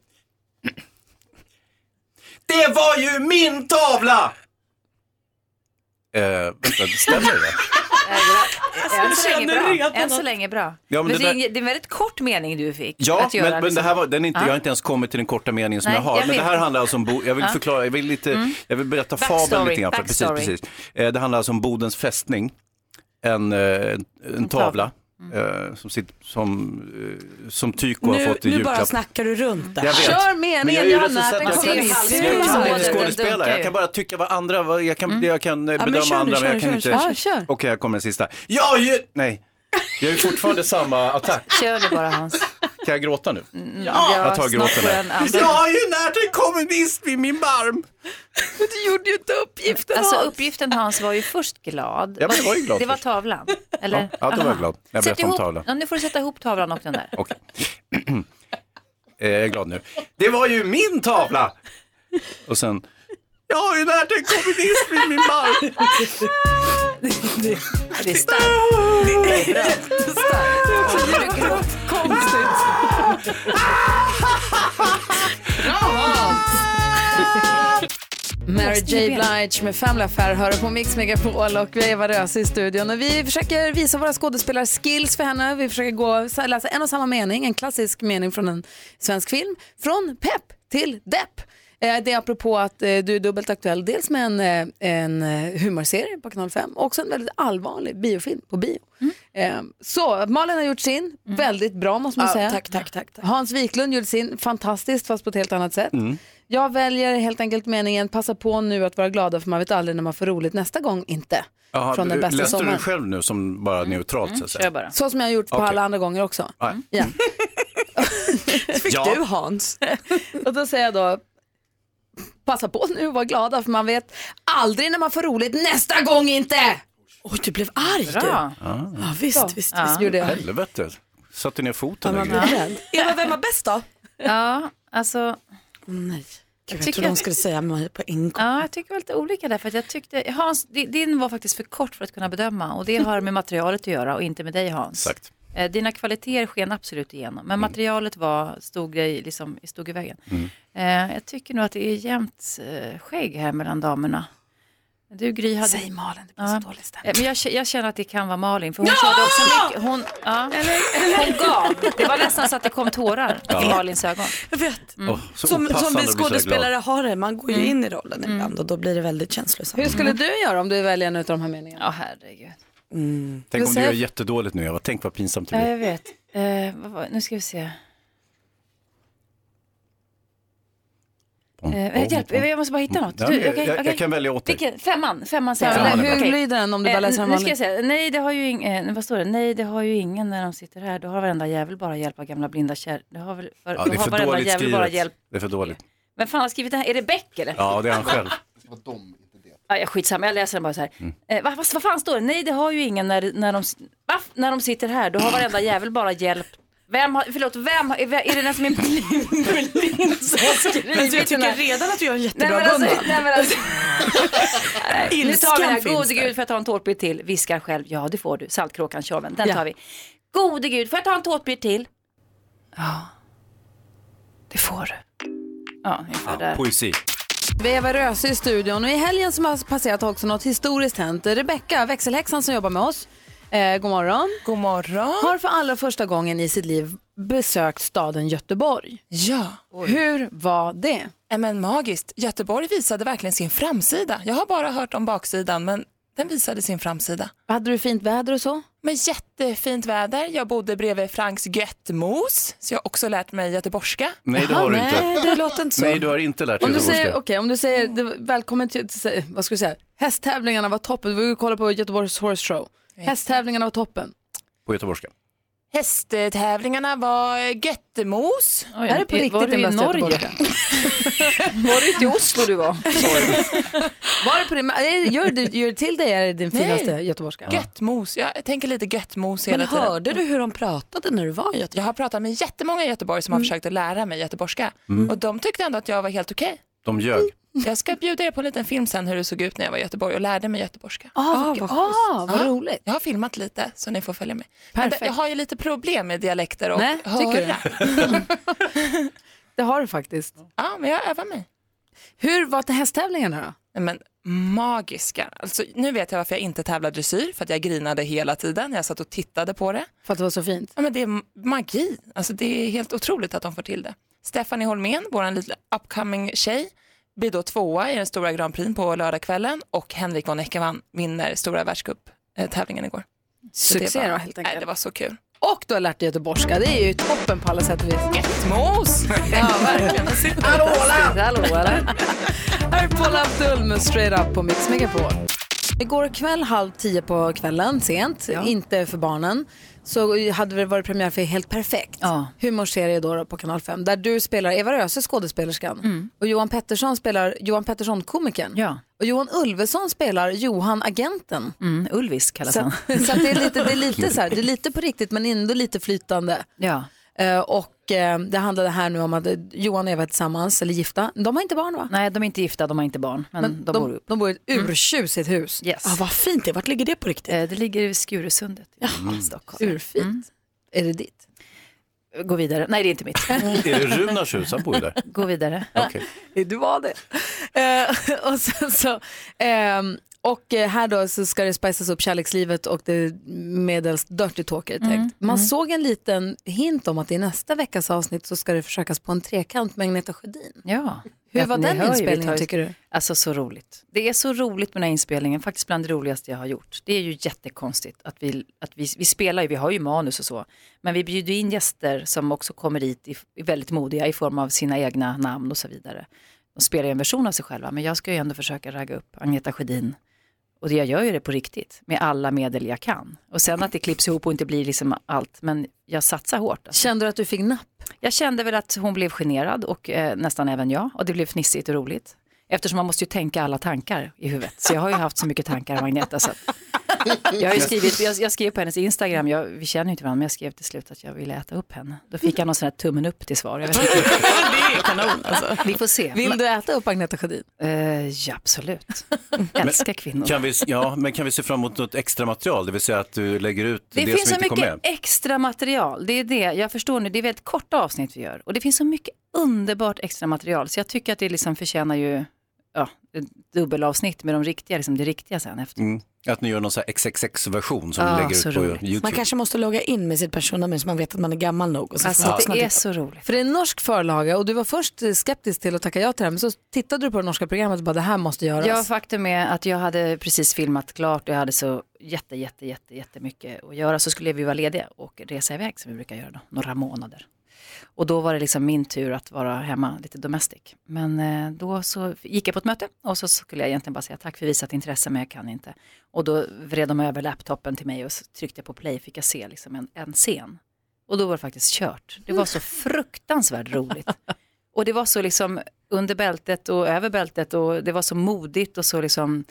[SPEAKER 2] Det var ju min tavla! Eh, vänta, stämmer det?
[SPEAKER 23] Än så
[SPEAKER 4] Jag
[SPEAKER 23] länge
[SPEAKER 4] känner
[SPEAKER 23] bra.
[SPEAKER 4] redan
[SPEAKER 23] Än så
[SPEAKER 4] att-
[SPEAKER 23] länge bra.
[SPEAKER 2] Ja,
[SPEAKER 23] men
[SPEAKER 2] men det
[SPEAKER 23] det, är
[SPEAKER 2] där-
[SPEAKER 23] ing- det är en väldigt kort mening du fick.
[SPEAKER 2] Ja,
[SPEAKER 23] att göra,
[SPEAKER 2] men, men det
[SPEAKER 23] liksom.
[SPEAKER 2] här var, den är inte,
[SPEAKER 23] Ja.
[SPEAKER 2] jag har inte ens kommit till den korta meningen som
[SPEAKER 23] Nej,
[SPEAKER 2] jag har.
[SPEAKER 23] jag
[SPEAKER 2] men det
[SPEAKER 23] vet.
[SPEAKER 2] här handlar alltså om, Bo, jag vill
[SPEAKER 23] Ja.
[SPEAKER 2] förklara, jag vill, lite,
[SPEAKER 23] Mm.
[SPEAKER 2] jag vill berätta
[SPEAKER 23] Backstory,
[SPEAKER 2] fabeln lite grann. För, precis,
[SPEAKER 23] backstory.
[SPEAKER 2] precis. Eh, det handlar alltså om Bodens fästning, en, eh, en, en tavla. eh, Som, sitt, som, eh, som Tyko har
[SPEAKER 4] Nu,
[SPEAKER 2] fått i
[SPEAKER 4] nu bara
[SPEAKER 2] julklapp.
[SPEAKER 4] snackar du runt det
[SPEAKER 2] Jag vet.
[SPEAKER 1] Kör
[SPEAKER 2] Men
[SPEAKER 1] meningen,
[SPEAKER 2] jag är ju
[SPEAKER 1] jag har
[SPEAKER 2] recensent,
[SPEAKER 1] närt en
[SPEAKER 2] jag kan inte-
[SPEAKER 1] kommunist.
[SPEAKER 2] jag kan inte
[SPEAKER 1] Sluta.
[SPEAKER 2] skådespela, jag kan bara tycka vad andra, vad- jag kan, jag kan eh,
[SPEAKER 1] Mm. Ja, men
[SPEAKER 2] bedöma
[SPEAKER 1] kör nu,
[SPEAKER 2] andra
[SPEAKER 1] kör
[SPEAKER 2] men
[SPEAKER 1] nu,
[SPEAKER 2] jag kan
[SPEAKER 1] kör,
[SPEAKER 2] inte.
[SPEAKER 1] kör. Ja, kör.
[SPEAKER 2] Okej, jag kommer den sista. Ja, ju, nej. Jag är ju fortfarande samma attack.
[SPEAKER 23] Kör det bara Hans.
[SPEAKER 2] Kan jag gråta nu?
[SPEAKER 1] Mm,
[SPEAKER 23] ja,
[SPEAKER 2] jag tar
[SPEAKER 23] snart
[SPEAKER 2] gråten
[SPEAKER 23] får
[SPEAKER 2] här.
[SPEAKER 23] en annan.
[SPEAKER 2] Jag har ju närt en kommunist vid min barm.
[SPEAKER 1] Men du gjorde ju inte uppgiften
[SPEAKER 23] Alltså
[SPEAKER 1] Hans.
[SPEAKER 23] uppgiften Hans var ju först glad.
[SPEAKER 2] Ja, men jag var ju glad
[SPEAKER 23] Det var
[SPEAKER 2] först.
[SPEAKER 23] tavlan. Eller?
[SPEAKER 2] Ja, då var
[SPEAKER 23] Aha.
[SPEAKER 2] jag glad.
[SPEAKER 23] Sätt
[SPEAKER 2] Jag berättade om
[SPEAKER 23] ihop-
[SPEAKER 2] tavlan.
[SPEAKER 23] Ja, nu får du sätta ihop tavlan och den där.
[SPEAKER 2] Okej. Eh, jag är glad nu. Det var ju min tavla! Och sen, Jag har ju lärt en kommunist vid min barm.
[SPEAKER 19] det,
[SPEAKER 23] det är starkt.
[SPEAKER 19] Det är jättestarkt. Det är också jättekonstigt.
[SPEAKER 1] Mary J Blige med Family Affair hör på Mix Megapol och vi är Eva Röse i studion. Och vi försöker visa våra skådespelarskills för henne. Vi försöker gå, läsa en och samma mening, en klassisk mening från en svensk film. Från pepp till depp. Eh, Det är apropå att eh, du är dubbelt aktuell, dels med en, eh, en eh, humorserie på Kanal 5 och också en väldigt allvarlig biofilm på bio.
[SPEAKER 4] Mm.
[SPEAKER 1] Eh, Så Malin har gjort sin, väldigt bra måste man
[SPEAKER 4] Ja,
[SPEAKER 1] säga.
[SPEAKER 4] tack, tack, tack,
[SPEAKER 1] Hans Wiklund gjorde sin, fantastiskt fast på ett helt annat
[SPEAKER 19] Mm.
[SPEAKER 1] sätt.
[SPEAKER 2] Mm.
[SPEAKER 1] Jag väljer helt enkelt meningen passa på nu att vara glada för man vet aldrig när man får roligt nästa gång inte.
[SPEAKER 2] Jaha,
[SPEAKER 1] Från den bästa
[SPEAKER 2] läste du
[SPEAKER 1] sommaren. Mm,
[SPEAKER 2] den själv nu
[SPEAKER 23] Mm,
[SPEAKER 2] som bara neutralt så att säga?
[SPEAKER 1] Så som jag har gjort på
[SPEAKER 2] Okej.
[SPEAKER 1] alla andra gånger också.
[SPEAKER 2] Ja.
[SPEAKER 1] Ja.
[SPEAKER 5] Fick
[SPEAKER 1] Ja.
[SPEAKER 5] du Hans?
[SPEAKER 1] Och då säger jag då, passa på nu och var glada för man vet aldrig när man får roligt nästa gång inte.
[SPEAKER 5] Oj, du blev arg
[SPEAKER 1] du.
[SPEAKER 2] Ja,
[SPEAKER 5] Ja, visst,
[SPEAKER 1] Ja.
[SPEAKER 5] visst, visst
[SPEAKER 1] Ja.
[SPEAKER 5] gjorde jag.
[SPEAKER 2] Helvete, satte ner foten.
[SPEAKER 5] Ja, man
[SPEAKER 2] eller?
[SPEAKER 5] blir rädd. Eva, vem var bäst då?
[SPEAKER 23] Ja, alltså.
[SPEAKER 5] Nej. Jag,
[SPEAKER 23] tycker
[SPEAKER 5] trodde hon
[SPEAKER 23] att-
[SPEAKER 5] skulle säga mig på en gång.
[SPEAKER 23] Ja, jag tycker det var lite olika där. För att jag tyckte, Hans, di- din var faktiskt för kort för att kunna bedöma och det har med materialet att göra och inte med dig Hans.
[SPEAKER 2] Exakt.
[SPEAKER 23] Eh, Dina kvaliteter sken absolut igenom, men materialet var, stod, i- liksom, stod i vägen. Eh, Jag tycker nog att det är jämnt eh, skägg här mellan damerna. Du Gry hade...
[SPEAKER 1] Säg Malin, det blir så dålig stämning.
[SPEAKER 23] Men jag, k- jag känner att det kan vara Malin, för hon
[SPEAKER 1] Ja!
[SPEAKER 23] körde också mycket. Hon, ja, hon gav. Det var nästan så att det kom tårar
[SPEAKER 5] Ja.
[SPEAKER 23] i Malins ögon.
[SPEAKER 5] Jag vet.
[SPEAKER 23] Mm. Åh,
[SPEAKER 1] så
[SPEAKER 5] som, som
[SPEAKER 1] opassande
[SPEAKER 5] vi
[SPEAKER 1] att bli så här
[SPEAKER 5] skådespelare
[SPEAKER 1] glad.
[SPEAKER 5] har det, man går ju
[SPEAKER 23] Mm.
[SPEAKER 5] in i rollen ibland och då blir det väldigt känslosamt.
[SPEAKER 1] Mm. Hur skulle du göra om du väljer en av de här meningarna?
[SPEAKER 23] Ja, herregud.
[SPEAKER 5] Mm.
[SPEAKER 2] Tänk om
[SPEAKER 23] Jag
[SPEAKER 2] du
[SPEAKER 23] säger-
[SPEAKER 2] gör jättedåligt nu, Eva. Tänk vad pinsamt det
[SPEAKER 23] Ja, jag
[SPEAKER 2] blir.
[SPEAKER 23] vet. Eh, vad var, nu ska vi se. Eh, hjälp, jag måste bara hitta något.
[SPEAKER 2] Ja,
[SPEAKER 23] Du,
[SPEAKER 2] men jag-
[SPEAKER 23] okej,
[SPEAKER 2] jag- jag
[SPEAKER 23] okej.
[SPEAKER 2] kan välja åt dig.
[SPEAKER 23] Vilken? Femman, femman säger
[SPEAKER 2] Femman
[SPEAKER 23] jag.
[SPEAKER 2] är bra.
[SPEAKER 1] Hur
[SPEAKER 23] Okej.
[SPEAKER 1] lyder den om du bara
[SPEAKER 23] Eh,
[SPEAKER 1] läser en
[SPEAKER 23] Nu ska
[SPEAKER 1] vanlig?
[SPEAKER 23] jag säga, nej det har ju ingen, eh, vad står det? Nej det har ju ingen när de sitter här. Då har varenda jävel bara hjälp av gamla blinda kärr. Det har väl, för,
[SPEAKER 2] Ja,
[SPEAKER 23] då
[SPEAKER 2] det är
[SPEAKER 23] har
[SPEAKER 2] för
[SPEAKER 23] varenda
[SPEAKER 2] dåligt
[SPEAKER 23] jävel bara hjälp.
[SPEAKER 2] skrivet. Det är för dåligt.
[SPEAKER 23] Vem fan har skrivit den här? Är det Beck eller?
[SPEAKER 2] Ja, det är han själv.
[SPEAKER 23] Ja, jag skitsamma, jag läser den bara så här.
[SPEAKER 1] Mm.
[SPEAKER 23] Eh, vad, vad, vad fan står det? Nej, det har ju ingen när, när, de, va? när de sitter här. Då har varenda jävel bara hjälp. Vem har, förlåt, vem har, är, är det den som är blind som har skrivit
[SPEAKER 5] Men jag
[SPEAKER 23] den här?
[SPEAKER 5] tycker redan att du gör en
[SPEAKER 23] Nej,
[SPEAKER 5] jättebra
[SPEAKER 23] men alltså,
[SPEAKER 5] bumman.
[SPEAKER 23] nej, men alltså. Nej, nu tar vi den här.
[SPEAKER 5] Ilskan
[SPEAKER 23] Gode
[SPEAKER 5] finns där.
[SPEAKER 23] gud, får jag ta en tårtbit till? Viskar själv. Ja, det får du. Saltkråkan, tjorven. Den
[SPEAKER 5] Ja.
[SPEAKER 23] tar vi. Gode gud, får jag ta en tårtbit till? Ja, det får du. Ja, ungefär där.
[SPEAKER 2] Poesi.
[SPEAKER 1] Vi är Eva Röse i studion och i helgen som har passerat har också något historiskt hänt. Rebecka, växelhäxan som jobbar med oss, eh, god morgon.
[SPEAKER 10] God morgon.
[SPEAKER 1] Har för allra första gången i sitt liv besökt staden Göteborg.
[SPEAKER 10] Ja.
[SPEAKER 1] Hur var det?
[SPEAKER 10] Ja, Men magiskt. Göteborg visade verkligen sin framsida. Jag har bara hört om baksidan, men den visade sin framsida.
[SPEAKER 1] Hade du fint väder och så?
[SPEAKER 10] Men jättefint väder. Jag bodde bredvid Franks Göttmos, så jag har också lärt mig göteborgska.
[SPEAKER 2] Nej, det har du inte. Nej, du
[SPEAKER 1] så.
[SPEAKER 2] har inte lärt dig
[SPEAKER 1] Om du
[SPEAKER 2] göteborgska.
[SPEAKER 1] säger, okay, om du säger det, var- välkommen till, till, vad ska vi säga, hästtävlingarna var toppen, vi kollar på Göteborgs Horse Show. Hästtävlingarna var toppen.
[SPEAKER 2] På göteborgska.
[SPEAKER 10] Hästtävlingarna var Göttmos.
[SPEAKER 1] Oj, Är det på var riktigt du den i bästa Norge? göteborgska? Var det inte i Oslo du var? var det på din, eh, gör, det- gör det till dig är det din
[SPEAKER 10] Nej.
[SPEAKER 1] finaste göteborgska?
[SPEAKER 10] Göttmos. Jag tänker lite göttmos hela
[SPEAKER 1] Men
[SPEAKER 10] tiden.
[SPEAKER 1] hörde du hur de pratade när du var i Mm. Göteborg?
[SPEAKER 10] Jag har pratat med jättemånga i Göteborg som har försökt att lära mig göteborgska.
[SPEAKER 2] Mm.
[SPEAKER 10] Och de tyckte ändå att jag var helt okej.
[SPEAKER 2] De ljög.
[SPEAKER 10] Jag ska bjuda er på en liten film sen hur det såg ut när jag var i Göteborg och lärde mig göteborgska.
[SPEAKER 1] Ah, vad kul. Ah, vad roligt.
[SPEAKER 10] Jag har filmat lite så ni får följa med.
[SPEAKER 1] Perfekt.
[SPEAKER 10] Men Jag har ju lite problem med dialekter och
[SPEAKER 1] Nej, tycker
[SPEAKER 10] höra.
[SPEAKER 1] Det har du faktiskt.
[SPEAKER 10] Ja, men jag övar mig.
[SPEAKER 1] Hur var det hästtävlingarna då?
[SPEAKER 10] Nej, Men magiska. Alltså, nu vet jag varför jag inte tävlar dressyr, för att jag grinade hela tiden. Jag satt och tittade på det.
[SPEAKER 1] För att det var så fint?
[SPEAKER 10] Ja, men det är m- magi. Alltså, det är helt otroligt att de får till det. Stephanie Holmén, vår lilla upcoming tjej, blir då tvåa i den stora Grand Prix på lördagskvällen och Henrik von Eckermann vinner stora världscuptävlingen eh, igår. Så det
[SPEAKER 1] Succé
[SPEAKER 10] var-
[SPEAKER 1] då, helt enkelt.
[SPEAKER 10] Nej, det var så kul.
[SPEAKER 1] Och du har lärt dig göteborgska, det är ju toppen på alla sätt och vis.
[SPEAKER 10] Mos!
[SPEAKER 1] Ja, verkligen.
[SPEAKER 10] Hallå,
[SPEAKER 1] hallå! Här är Paul Abdul med Straight Up på Mix Megapol. Igår kväll halv tio på kvällen, sent, inte för barnen, så hade det varit premiär för Helt Perfekt, humorserie då, då på Kanal 5, där du spelar Eva Röse, skådespelerskan,
[SPEAKER 10] Mm.
[SPEAKER 23] Mm.
[SPEAKER 1] och Johan Pettersson spelar Johan Pettersson, komikern. Och Johan Ulveson spelar Johan, agenten.
[SPEAKER 23] Mm, Ulvis kallas
[SPEAKER 1] Så,
[SPEAKER 23] han.
[SPEAKER 1] så att det, är lite, det, är lite så här, det är lite på riktigt men ändå lite flytande.
[SPEAKER 23] Ja.
[SPEAKER 1] Eh, och eh, det handlade här nu om att eh, Johan och Eva är tillsammans, eller gifta. De har inte barn va?
[SPEAKER 23] Nej, de är inte gifta, de har inte barn. Men, de, bor ihop.
[SPEAKER 1] de bor i ett urtjusigt hus.
[SPEAKER 23] Yes. Eh,
[SPEAKER 1] Ah, vad fint det Vart ligger det på riktigt?
[SPEAKER 23] det ligger i Skurusundet.
[SPEAKER 1] Mm. Urfint. Är det ditt?
[SPEAKER 23] Gå vidare. Nej, det är inte mitt.
[SPEAKER 2] Är det Runars hus? Han bor ju där.
[SPEAKER 23] Gå vidare.
[SPEAKER 2] Okej.
[SPEAKER 1] Du var det. Eh, och sen så, ehm, och eh, här då så ska det spicas upp kärlekslivet och det är medelst Dirty Talk är det tänkt.
[SPEAKER 23] Mm,
[SPEAKER 1] Man
[SPEAKER 23] mm.
[SPEAKER 1] såg en liten hint om att i nästa veckas avsnitt så ska det försökas på en trekant med Agneta Sjödin.
[SPEAKER 23] Ja.
[SPEAKER 1] Hur
[SPEAKER 23] Ja,
[SPEAKER 1] var
[SPEAKER 23] ni
[SPEAKER 1] den
[SPEAKER 23] hör ju, vi
[SPEAKER 1] inspelningen
[SPEAKER 23] tar ju-
[SPEAKER 1] tycker du?
[SPEAKER 23] Alltså så roligt. Det är så roligt med den här inspelningen, faktiskt bland det roligaste jag har gjort. Det är ju jättekonstigt att vi, att vi, vi spelar ju, vi har ju manus och så, men vi bjuder in gäster som också kommer hit i, i väldigt modiga i form av sina egna namn och så vidare. De spelar ju en version av sig själva, men jag ska ju ändå försöka ragga upp Agneta Sjödin. Och jag gör ju det på riktigt, med alla medel jag kan. Och sen att det klipps ihop och inte blir liksom allt, men jag satsar hårt. Alltså.
[SPEAKER 1] Kände du att du fick napp?
[SPEAKER 23] Jag kände väl att hon blev generad och eh, nästan även jag och det blev fnissigt och roligt. Eftersom man måste ju tänka alla tankar i huvudet. Så jag har ju haft så mycket tankar, Magneta. Så att jag, har ju skrivit, jag, jag skrev på hennes Instagram, jag, vi känner ju inte varandra, men jag skrev till slut att jag ville äta upp henne. Då fick jag någon sån här tummen upp till svar. Jag vet inte.
[SPEAKER 1] Det är kanon alltså.
[SPEAKER 23] Vi får se.
[SPEAKER 1] Vill du äta upp Agneta Sjödin?
[SPEAKER 23] Eh, ja, absolut. Älskar kvinnor.
[SPEAKER 2] Kan vi, ja, men kan vi se fram emot något extra material, det vill säga att du lägger ut det,
[SPEAKER 23] Det, finns
[SPEAKER 2] som
[SPEAKER 23] så
[SPEAKER 2] inte kom
[SPEAKER 23] mycket
[SPEAKER 2] med?
[SPEAKER 23] extra material. Det är det, jag förstår nu, det är väldigt korta avsnitt vi gör. Och det finns så mycket underbart extra material. Så jag tycker att det liksom förtjänar ju ja, ett dubbelavsnitt med de riktiga, liksom det riktiga sen efter.
[SPEAKER 2] Mm. Att ni gör någon sån här XXX-version som
[SPEAKER 23] Ah,
[SPEAKER 2] ni lägger
[SPEAKER 23] så
[SPEAKER 2] ut på
[SPEAKER 23] roligt.
[SPEAKER 2] YouTube.
[SPEAKER 5] Man kanske måste logga in med sitt personnummer så man vet att man är gammal nog. Och så
[SPEAKER 1] Alltså,
[SPEAKER 5] får man
[SPEAKER 1] det
[SPEAKER 5] lyssna
[SPEAKER 1] är
[SPEAKER 5] till-
[SPEAKER 1] så roligt. För det är en norsk förlaga och du var först eh, skeptisk till att tacka ja till det här men så tittade du på det norska programmet och bara det här måste göras.
[SPEAKER 23] Ja, faktum är att jag hade precis filmat klart och jag hade så jätte, jätte, jätte, jättemycket att göra. Så skulle vi vara lediga och resa iväg som vi brukar göra då, några månader. Och då var det liksom min tur att vara hemma lite domestic. Men eh, då så gick jag på ett möte och så skulle jag egentligen bara säga tack för visat intresse men jag kan inte. Och då vred de över laptopen till mig och så tryckte jag på play fick jag se liksom en, en scen. Och då var det faktiskt kört. Det var så fruktansvärt roligt. Och det var så liksom under bältet och över bältet och det var så modigt och så liksom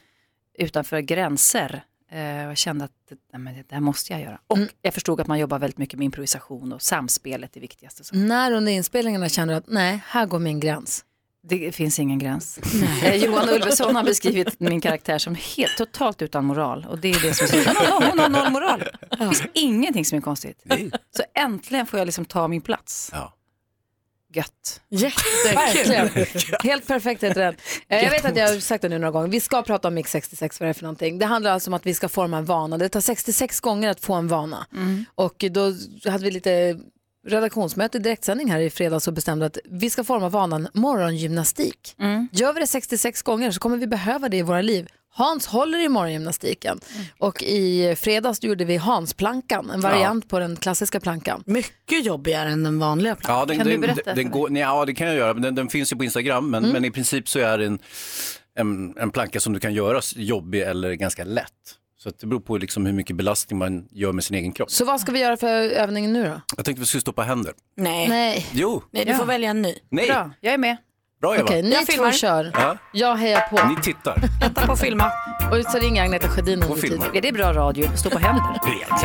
[SPEAKER 23] utanför gränser. Eh, jag kände att nej, men det där måste jag göra. Och
[SPEAKER 1] Mm.
[SPEAKER 23] jag förstod att man jobbar väldigt mycket med improvisation och samspelet är viktigast. Och så.
[SPEAKER 1] När under inspelningarna känner du att nej, här går min gräns?
[SPEAKER 23] Det finns ingen gräns. Eh, Johan Ulveson har beskrivit min karaktär som helt totalt utan moral och det är det som är så hon, har- hon har noll moral. Det finns ingenting som är konstigt. Så äntligen får jag liksom ta min plats. Gött.
[SPEAKER 1] Verkligen. Helt perfekt heter den. Eh, Jag vet att jag har sagt det nu några gånger. Vi ska prata om Mix 66, vad det är för någonting. Det handlar alltså om att vi ska forma en vana. Det tar 66 gånger att få en vana.
[SPEAKER 5] Mm.
[SPEAKER 1] Och då hade vi lite redaktionsmöte, direktsändning här i fredags och bestämde att vi ska forma vanan morgongymnastik.
[SPEAKER 5] Mm.
[SPEAKER 1] Gör vi det 66 gånger så kommer vi behöva det i våra liv. Hans håller i morgongymnastiken
[SPEAKER 5] Mm.
[SPEAKER 1] och i fredags gjorde vi Hansplankan, en variant på den klassiska plankan.
[SPEAKER 5] Mycket jobbigare än den vanliga plankan.
[SPEAKER 2] Ja, den, den, Den, den går, nej, ja, det kan jag göra. Men Den, den finns ju på Instagram,
[SPEAKER 5] Mm.
[SPEAKER 2] men, men i princip så är det en, en, en planka som du kan göra s- jobbig eller ganska lätt. Så att det beror på liksom hur mycket belastning man gör med sin egen kropp.
[SPEAKER 1] Så vad ska vi göra för övningen nu då?
[SPEAKER 2] Jag tänkte vi skulle stoppa händer.
[SPEAKER 5] Nej.
[SPEAKER 1] Nej.
[SPEAKER 2] Jo,
[SPEAKER 5] Nej, Eh, du får välja en ny.
[SPEAKER 2] Nej. Bra,
[SPEAKER 23] jag är med.
[SPEAKER 2] bra Eva.
[SPEAKER 1] Okej, ni två kör.
[SPEAKER 2] Ja.
[SPEAKER 1] Jag hejar på.
[SPEAKER 2] Ni tittar.
[SPEAKER 23] Vänta på filma.
[SPEAKER 1] Och så ringer Agneta Sjödin
[SPEAKER 2] Och
[SPEAKER 1] under tiden.
[SPEAKER 2] filmar.
[SPEAKER 23] Är det bra radio? Stå på händer?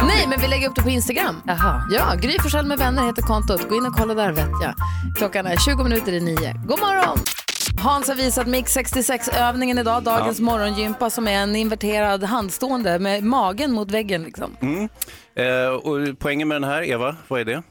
[SPEAKER 1] Nej, men vi lägger upp det på Instagram.
[SPEAKER 23] Jaha.
[SPEAKER 1] Ja, Gry Forssell med vänner heter kontot. Gå in och kolla där vet jag. Klockan är 20 minuter i nio. God morgon! Hans har visat Mix 66-övningen idag, dagens
[SPEAKER 2] Ja.
[SPEAKER 1] morgongympa som är en inverterad handstående med magen mot väggen liksom.
[SPEAKER 2] Mm. Eh, och poängen med den här, Eva, vad är det?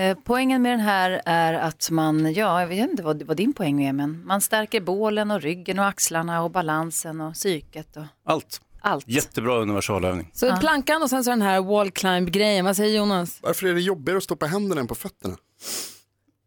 [SPEAKER 23] Eh, Poängen med den här är att man, ja, jag vet inte vad, vad din poäng är, men man stärker bålen och ryggen och axlarna och balansen och psyket och
[SPEAKER 2] Allt.
[SPEAKER 23] allt.
[SPEAKER 2] Jättebra universalövning.
[SPEAKER 1] Så plankan och sen så den här wall climb-grejen. Vad säger Jonas?
[SPEAKER 9] Varför är det jobbigare att stoppa händerna än på fötterna?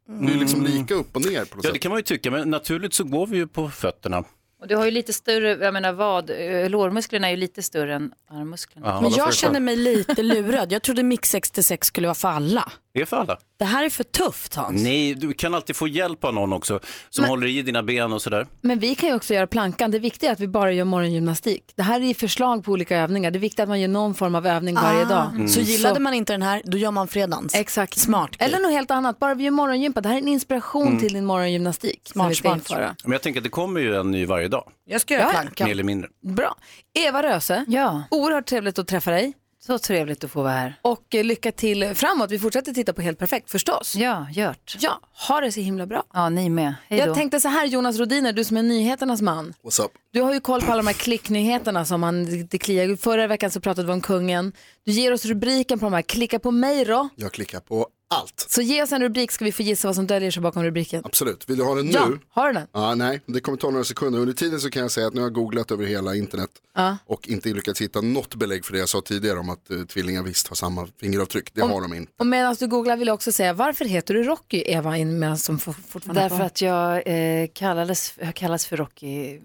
[SPEAKER 9] Det är
[SPEAKER 1] Mm.
[SPEAKER 9] liksom lika upp och ner på något
[SPEAKER 2] Mm. Ja, det
[SPEAKER 9] sätt.
[SPEAKER 2] kan man ju tycka, men naturligt så går vi ju på fötterna.
[SPEAKER 23] Och du har ju lite större, jag menar vad, eh, lårmusklerna är ju lite större än armmusklerna.
[SPEAKER 2] Ja, alla
[SPEAKER 5] Men
[SPEAKER 2] får
[SPEAKER 5] jag
[SPEAKER 2] det
[SPEAKER 5] känner
[SPEAKER 2] själv.
[SPEAKER 5] mig lite lurad. Jag trodde Mix 66 skulle vara för alla.
[SPEAKER 2] Det är för alla.
[SPEAKER 5] Det här är för tufft Hans.
[SPEAKER 2] Nej, du kan alltid få hjälp av någon också som
[SPEAKER 1] Men-
[SPEAKER 2] håller i dina ben och sådär.
[SPEAKER 1] Men vi kan ju också göra plankan. Det viktiga är att vi bara gör morgongymnastik. Det här är ju förslag på olika övningar. Det viktiga är att man gör någon form av övning varje dag.
[SPEAKER 5] Ah. Mm.
[SPEAKER 1] Mm.
[SPEAKER 5] Så gillade man inte den här, då gör man fredagens.
[SPEAKER 1] Exakt.
[SPEAKER 5] Smart.
[SPEAKER 1] Eller något helt annat. Bara vi gör morgongympa. Det här är en inspiration
[SPEAKER 23] Mm.
[SPEAKER 1] till din morgongymnastik. som vi ska införa.
[SPEAKER 2] Men jag tänker att det kommer ju en ny varje dag.
[SPEAKER 5] Jag ska
[SPEAKER 1] göra Ja. plankan.
[SPEAKER 2] Mer eller mindre.
[SPEAKER 1] Bra. Eva Röse,
[SPEAKER 23] ja.
[SPEAKER 1] oerhört trevligt att träffa dig.
[SPEAKER 23] Så trevligt att få vara här.
[SPEAKER 1] Och eh, lycka till framåt. Vi fortsätter titta på Helt Perfekt förstås.
[SPEAKER 23] Ja, gjort.
[SPEAKER 1] Ja, ha det så himla bra.
[SPEAKER 23] Ja, ni med. Hej då.
[SPEAKER 1] Jag tänkte så här, Jonas Rodiner, du som är nyheternas man.
[SPEAKER 9] What's up?
[SPEAKER 1] Du har ju koll på alla de här klicknyheterna som man, det kliar. Förra veckan så pratade vi om kungen. Du ger oss rubriken på de här, klicka på mig då.
[SPEAKER 9] Jag klickar på allt.
[SPEAKER 1] Så ge oss en rubrik ska vi få gissa vad som döljer sig bakom rubriken.
[SPEAKER 9] Absolut. Vill du ha den nu?
[SPEAKER 1] Ja, har du den?
[SPEAKER 9] Ja, nej, det kommer ta några sekunder. Under tiden så kan jag säga att nu har jag googlat över hela internet
[SPEAKER 1] Ja.
[SPEAKER 9] och inte lyckats hitta något belägg för det jag sa tidigare om att eh, tvillingar visst har samma fingeravtryck. Det har de inte.
[SPEAKER 1] Och medan du googlar vill jag också säga, varför heter du Rocky, Eva, in- medan som for- fortfarande
[SPEAKER 23] Därför
[SPEAKER 1] har-
[SPEAKER 23] att jag eh, kallades, jag kallas för Rocky mm,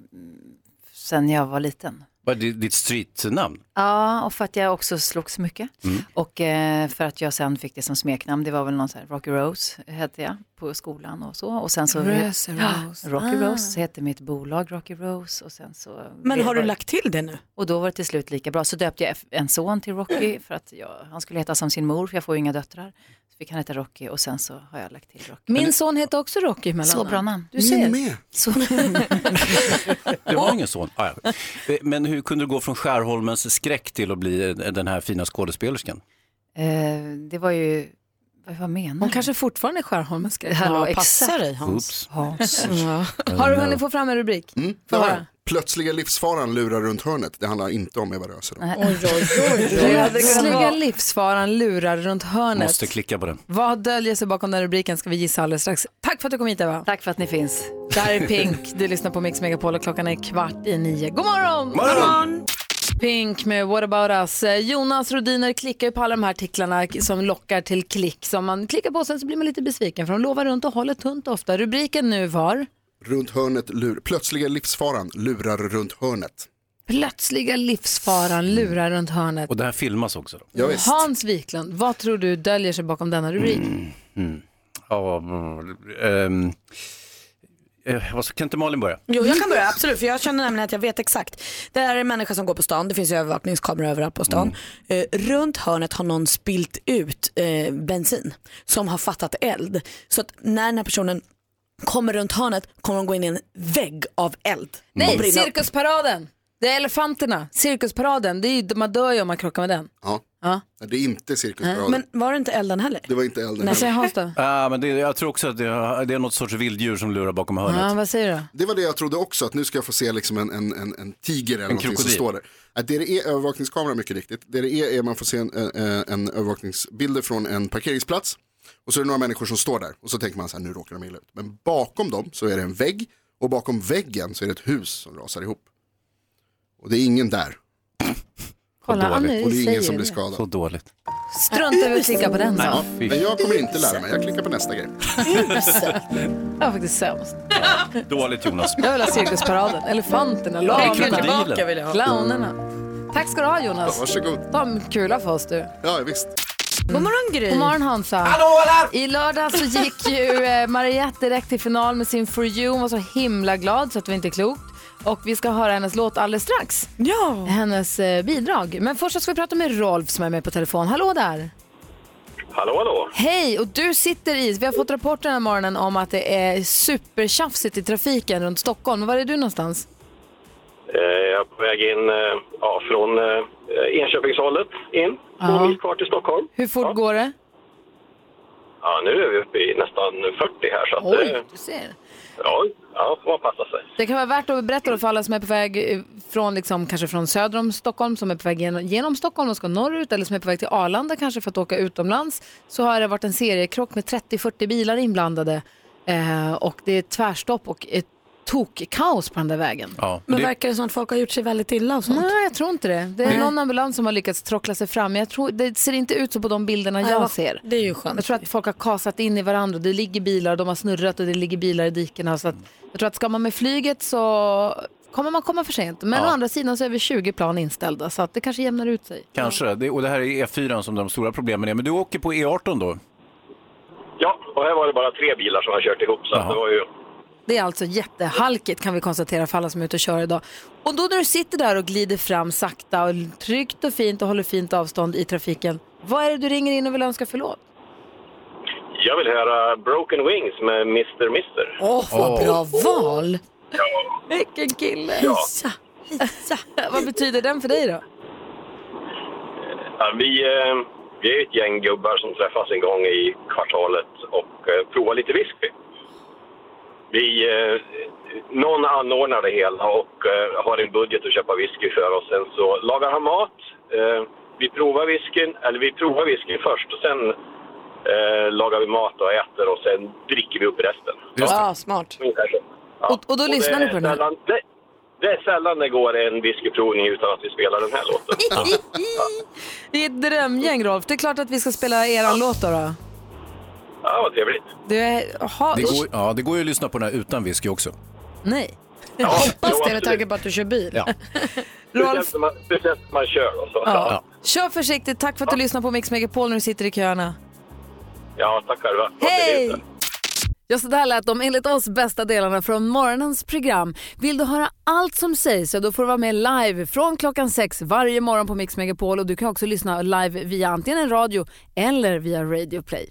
[SPEAKER 23] sen jag var liten.
[SPEAKER 2] Vad är di- ditt streetnamn?
[SPEAKER 23] Ja, och för att jag också slogs mycket.
[SPEAKER 2] Mm.
[SPEAKER 23] Och eh, för att jag sen fick det som smeknamn, det var väl någon så här, Rocky Rose hette jag på skolan och så. Och sen så
[SPEAKER 5] Röse
[SPEAKER 23] Ja,
[SPEAKER 5] Rose.
[SPEAKER 23] Rocky
[SPEAKER 5] Ah.
[SPEAKER 23] Rose hette mitt bolag Rocky Rose och sen så.
[SPEAKER 5] Men
[SPEAKER 23] det
[SPEAKER 5] har du
[SPEAKER 23] var-
[SPEAKER 5] lagt till det nu?
[SPEAKER 23] Och då var det till slut lika bra. Så döpte jag en son till Rocky för att jag, han skulle heta som sin mor, för jag får ju inga döttrar. Så fick han heta Rocky och sen så har jag lagt till Rocky.
[SPEAKER 1] Min son heter också Rocky mellan
[SPEAKER 23] Så bra namn.
[SPEAKER 1] Du ser.
[SPEAKER 23] Min med.
[SPEAKER 1] Så.
[SPEAKER 2] Det var ingen son. Ah, ja. Eh, Men hur kunde du gå från Skärholmens skräck till att bli eh, den här fina skådespelerskan?
[SPEAKER 23] Eh, det var ju, vad, vad menar
[SPEAKER 1] Hon kanske fortfarande är Skärholmens grej.
[SPEAKER 23] Hallå,
[SPEAKER 1] Ja, passar
[SPEAKER 23] exakt.
[SPEAKER 1] dig Hans.
[SPEAKER 2] Oops.
[SPEAKER 1] Hans.
[SPEAKER 9] Ja.
[SPEAKER 1] Har du hunnit få fram en rubrik?
[SPEAKER 9] Mm,
[SPEAKER 1] Få
[SPEAKER 9] det har
[SPEAKER 1] höra.
[SPEAKER 9] jag. Plötsliga livsfaran lurar runt hörnet. Det handlar inte om Eva Röse. då.
[SPEAKER 1] Slygga livsfaran lurar runt hörnet.
[SPEAKER 2] Måste klicka på den.
[SPEAKER 1] Vad döljer sig bakom den rubriken ska vi gissa alldeles strax. Tack för att du kom hit Eva.
[SPEAKER 23] Tack för att ni finns.
[SPEAKER 1] Där är Pink. Du lyssnar på Mix Megapol och klockan är kvart i nio. God morgon!
[SPEAKER 26] God morgon!
[SPEAKER 1] Pink med What about us. Eh, Jonas Rodiner klickar ju på alla de här artiklarna k- som lockar till klick. Som man klickar på sen så blir man lite besviken för de lovar runt och håller tunt ofta. Rubriken nu var
[SPEAKER 9] Runt hörnet lur... Plötsliga livsfaran lurar runt hörnet.
[SPEAKER 1] Plötsliga livsfaran lurar runt hörnet.
[SPEAKER 2] Och det här filmas också då?
[SPEAKER 1] Hans Wiklund, vad tror du döljer sig bakom denna rubrik?
[SPEAKER 2] Mm. Ja, mm, ehm, eh, vad ska- kan inte Malin börja?
[SPEAKER 1] Jo, jag kan börja, absolut. För jag känner nämligen att jag vet exakt. Det här är en människa som går på stan, det finns ju övervakningskameror överallt på stan. Eh, runt hörnet har någon spilt ut eh, bensin som har fattat eld. Så att när den här personen kommer runt hörnet kommer de gå in i en vägg av eld.
[SPEAKER 5] Nej,
[SPEAKER 1] cirkusparaden! Det är elefanterna, cirkusparaden. Det är ju, man dör ju om man krockar med den.
[SPEAKER 9] Ja.
[SPEAKER 1] Ja.
[SPEAKER 9] Det är inte cirkusparaden.
[SPEAKER 1] var det inte elden heller?
[SPEAKER 9] Det var inte elden.
[SPEAKER 1] Nej, säger Hans då.
[SPEAKER 2] Ah, men det, jag tror också att det, det är något sorts vilddjur som lurar bakom hörnet.
[SPEAKER 1] vad säger du?
[SPEAKER 9] Det var det jag trodde också, att nu ska jag få se liksom en, en, en, en tiger eller
[SPEAKER 2] En
[SPEAKER 9] någonting som
[SPEAKER 2] krokodil.
[SPEAKER 9] står där. Att det det är övervakningskamera mycket riktigt. Det det är är att man får se en, eh, en övervakningsbilder från en parkeringsplats. Och så är det några människor som står där och så tänker man så här, nu råkar de illa ut. Men bakom dem så är det en vägg och bakom väggen så är det ett hus som rasar ihop. Och det är ingen där.
[SPEAKER 1] Kolla,
[SPEAKER 9] och det
[SPEAKER 1] Annie
[SPEAKER 9] är ingen som
[SPEAKER 1] säger
[SPEAKER 9] blir
[SPEAKER 1] det.
[SPEAKER 9] skadad.
[SPEAKER 2] Så dåligt.
[SPEAKER 1] Strunt i att klicka på den då.
[SPEAKER 9] Ja, men jag kommer inte lära mig, jag klickar på nästa grej.
[SPEAKER 1] Det var faktiskt sämst.
[SPEAKER 2] Dåligt Jonas.
[SPEAKER 1] Jag vill ha cirkusparaden, elefanterna,
[SPEAKER 2] Ja,
[SPEAKER 1] lamerna,
[SPEAKER 2] krokodilen. Tillbaka vill jag ha.
[SPEAKER 1] clownerna. Tack ska du ha Jonas.
[SPEAKER 9] Mm. Ja, varsågod.
[SPEAKER 1] Ta en kula för oss du.
[SPEAKER 9] Ja, visst.
[SPEAKER 1] God morgon Gry. God morgon Hansa.
[SPEAKER 26] Hallå, där!
[SPEAKER 1] I lördag så gick ju eh, Mariette direkt till final med sin For You. Hon var så himla glad så att det var inte klokt. Och vi ska höra hennes låt alldeles strax. Ja. Hennes eh, bidrag. Men först så ska vi prata med Rolf som är med på telefon. Hallå där.
[SPEAKER 6] Hallå, hallå.
[SPEAKER 1] Hej, och du sitter i, vi har fått rapporter den här morgonen om att det är supertjafsigt i trafiken runt Stockholm. Var är du någonstans?
[SPEAKER 6] Eh, Jag är på väg in eh, ja, från eh, Enköpingshållet in. Två mil kvar till Stockholm.
[SPEAKER 1] Hur fort går det?
[SPEAKER 6] Ja, nu är vi uppe i nästan 40 här. Så att, eh,
[SPEAKER 1] Oj, du ser.
[SPEAKER 6] ja, ja, får man passa sig.
[SPEAKER 1] Det kan vara värt att berätta då för alla som är på väg eh, från, liksom, kanske från söder om Stockholm, som är på väg genom, genom Stockholm och ska norrut, eller som är på väg till Arlanda kanske för att åka utomlands, så har det varit en seriekrock med 30-40 bilar inblandade. Eh, och det är tvärstopp och ett tokkaos på den där vägen.
[SPEAKER 2] Ja,
[SPEAKER 1] Men
[SPEAKER 2] det-
[SPEAKER 1] verkar det som att folk har gjort sig väldigt illa och sånt? Nej, jag tror inte det. Det är
[SPEAKER 2] Nej.
[SPEAKER 1] någon ambulans som har lyckats trockla sig fram. Jag tror, det ser inte ut så på de bilderna
[SPEAKER 27] Nej,
[SPEAKER 1] jag
[SPEAKER 27] vad-
[SPEAKER 1] ser. Det är ju skönt. Jag tror att folk har kasat in i varandra. Det ligger bilar och de har snurrat och det ligger bilar i dikena. Så att jag tror att ska man med flyget så kommer man komma för sent. Men
[SPEAKER 2] Ja.
[SPEAKER 1] å andra sidan så är över 20 plan inställda så att det kanske jämnar ut sig.
[SPEAKER 2] Kanske, det, och det här är E4 som de stora problemen är. Men du åker på E18 då?
[SPEAKER 6] Ja, och här var det bara tre bilar som har kört ihop. Så att det var ju...
[SPEAKER 1] Det är alltså jättehalkigt kan vi konstatera för alla som är ute och kör idag. Och då när du sitter där och glider fram sakta och tryggt och fint och håller fint avstånd i trafiken. Vad är det du ringer in och vill önska förlåt?
[SPEAKER 6] Jag vill höra Broken Wings med Mr. Mister.
[SPEAKER 1] Åh,
[SPEAKER 6] vad Åh. bra
[SPEAKER 1] val! Vilken kille!
[SPEAKER 6] Ja.
[SPEAKER 1] Hisa, hisa. Vad betyder den för dig då?
[SPEAKER 6] Ja, vi, eh, vi är ju ett gäng gubbar som träffas en gång i kvartalet och eh, provar lite whisky. Vi, eh, någon anordnar det hela och eh, har en budget att köpa whisky för och sen så lagar han mat. Eh, vi provar whiskyn, eller vi provar whiskyn först och sen eh, lagar vi mat och äter och sen dricker vi upp resten.
[SPEAKER 1] Ja, smart.
[SPEAKER 6] Ungefär så. Ja.
[SPEAKER 1] Och, och då lyssnar
[SPEAKER 6] det
[SPEAKER 1] ni på
[SPEAKER 6] är
[SPEAKER 1] den här?
[SPEAKER 6] Sällan, det, det är sällan det går en whiskyprovning utan att vi spelar den här låten.
[SPEAKER 1] Det är ett drömgäng Rolf. Det är klart att vi ska spela eran låt då. då.
[SPEAKER 6] Ja, vad trevligt.
[SPEAKER 1] Du är... Ha...
[SPEAKER 2] Det går, ja, det går ju att lyssna på den här utan whisky också.
[SPEAKER 1] Nej.
[SPEAKER 6] Ja,
[SPEAKER 1] Hoppas
[SPEAKER 6] jo,
[SPEAKER 1] det med tanke på att du kör bil.
[SPEAKER 2] Ja.
[SPEAKER 1] Rolf.
[SPEAKER 6] Speciellt när Alltså, man, speciellt när man kör. Och så.
[SPEAKER 1] Ja. Kör försiktigt. Tack för att du lyssnar på Mix Megapol när du sitter i köerna.
[SPEAKER 6] ja, tack själva.
[SPEAKER 1] Hej! Ja, så där lät de enligt oss bästa delarna från morgonens program. Vill du höra allt som sägs så då får du vara med live från klockan sex varje morgon på Mix Megapol och du kan också lyssna live via antingen en radio eller via Radio Play.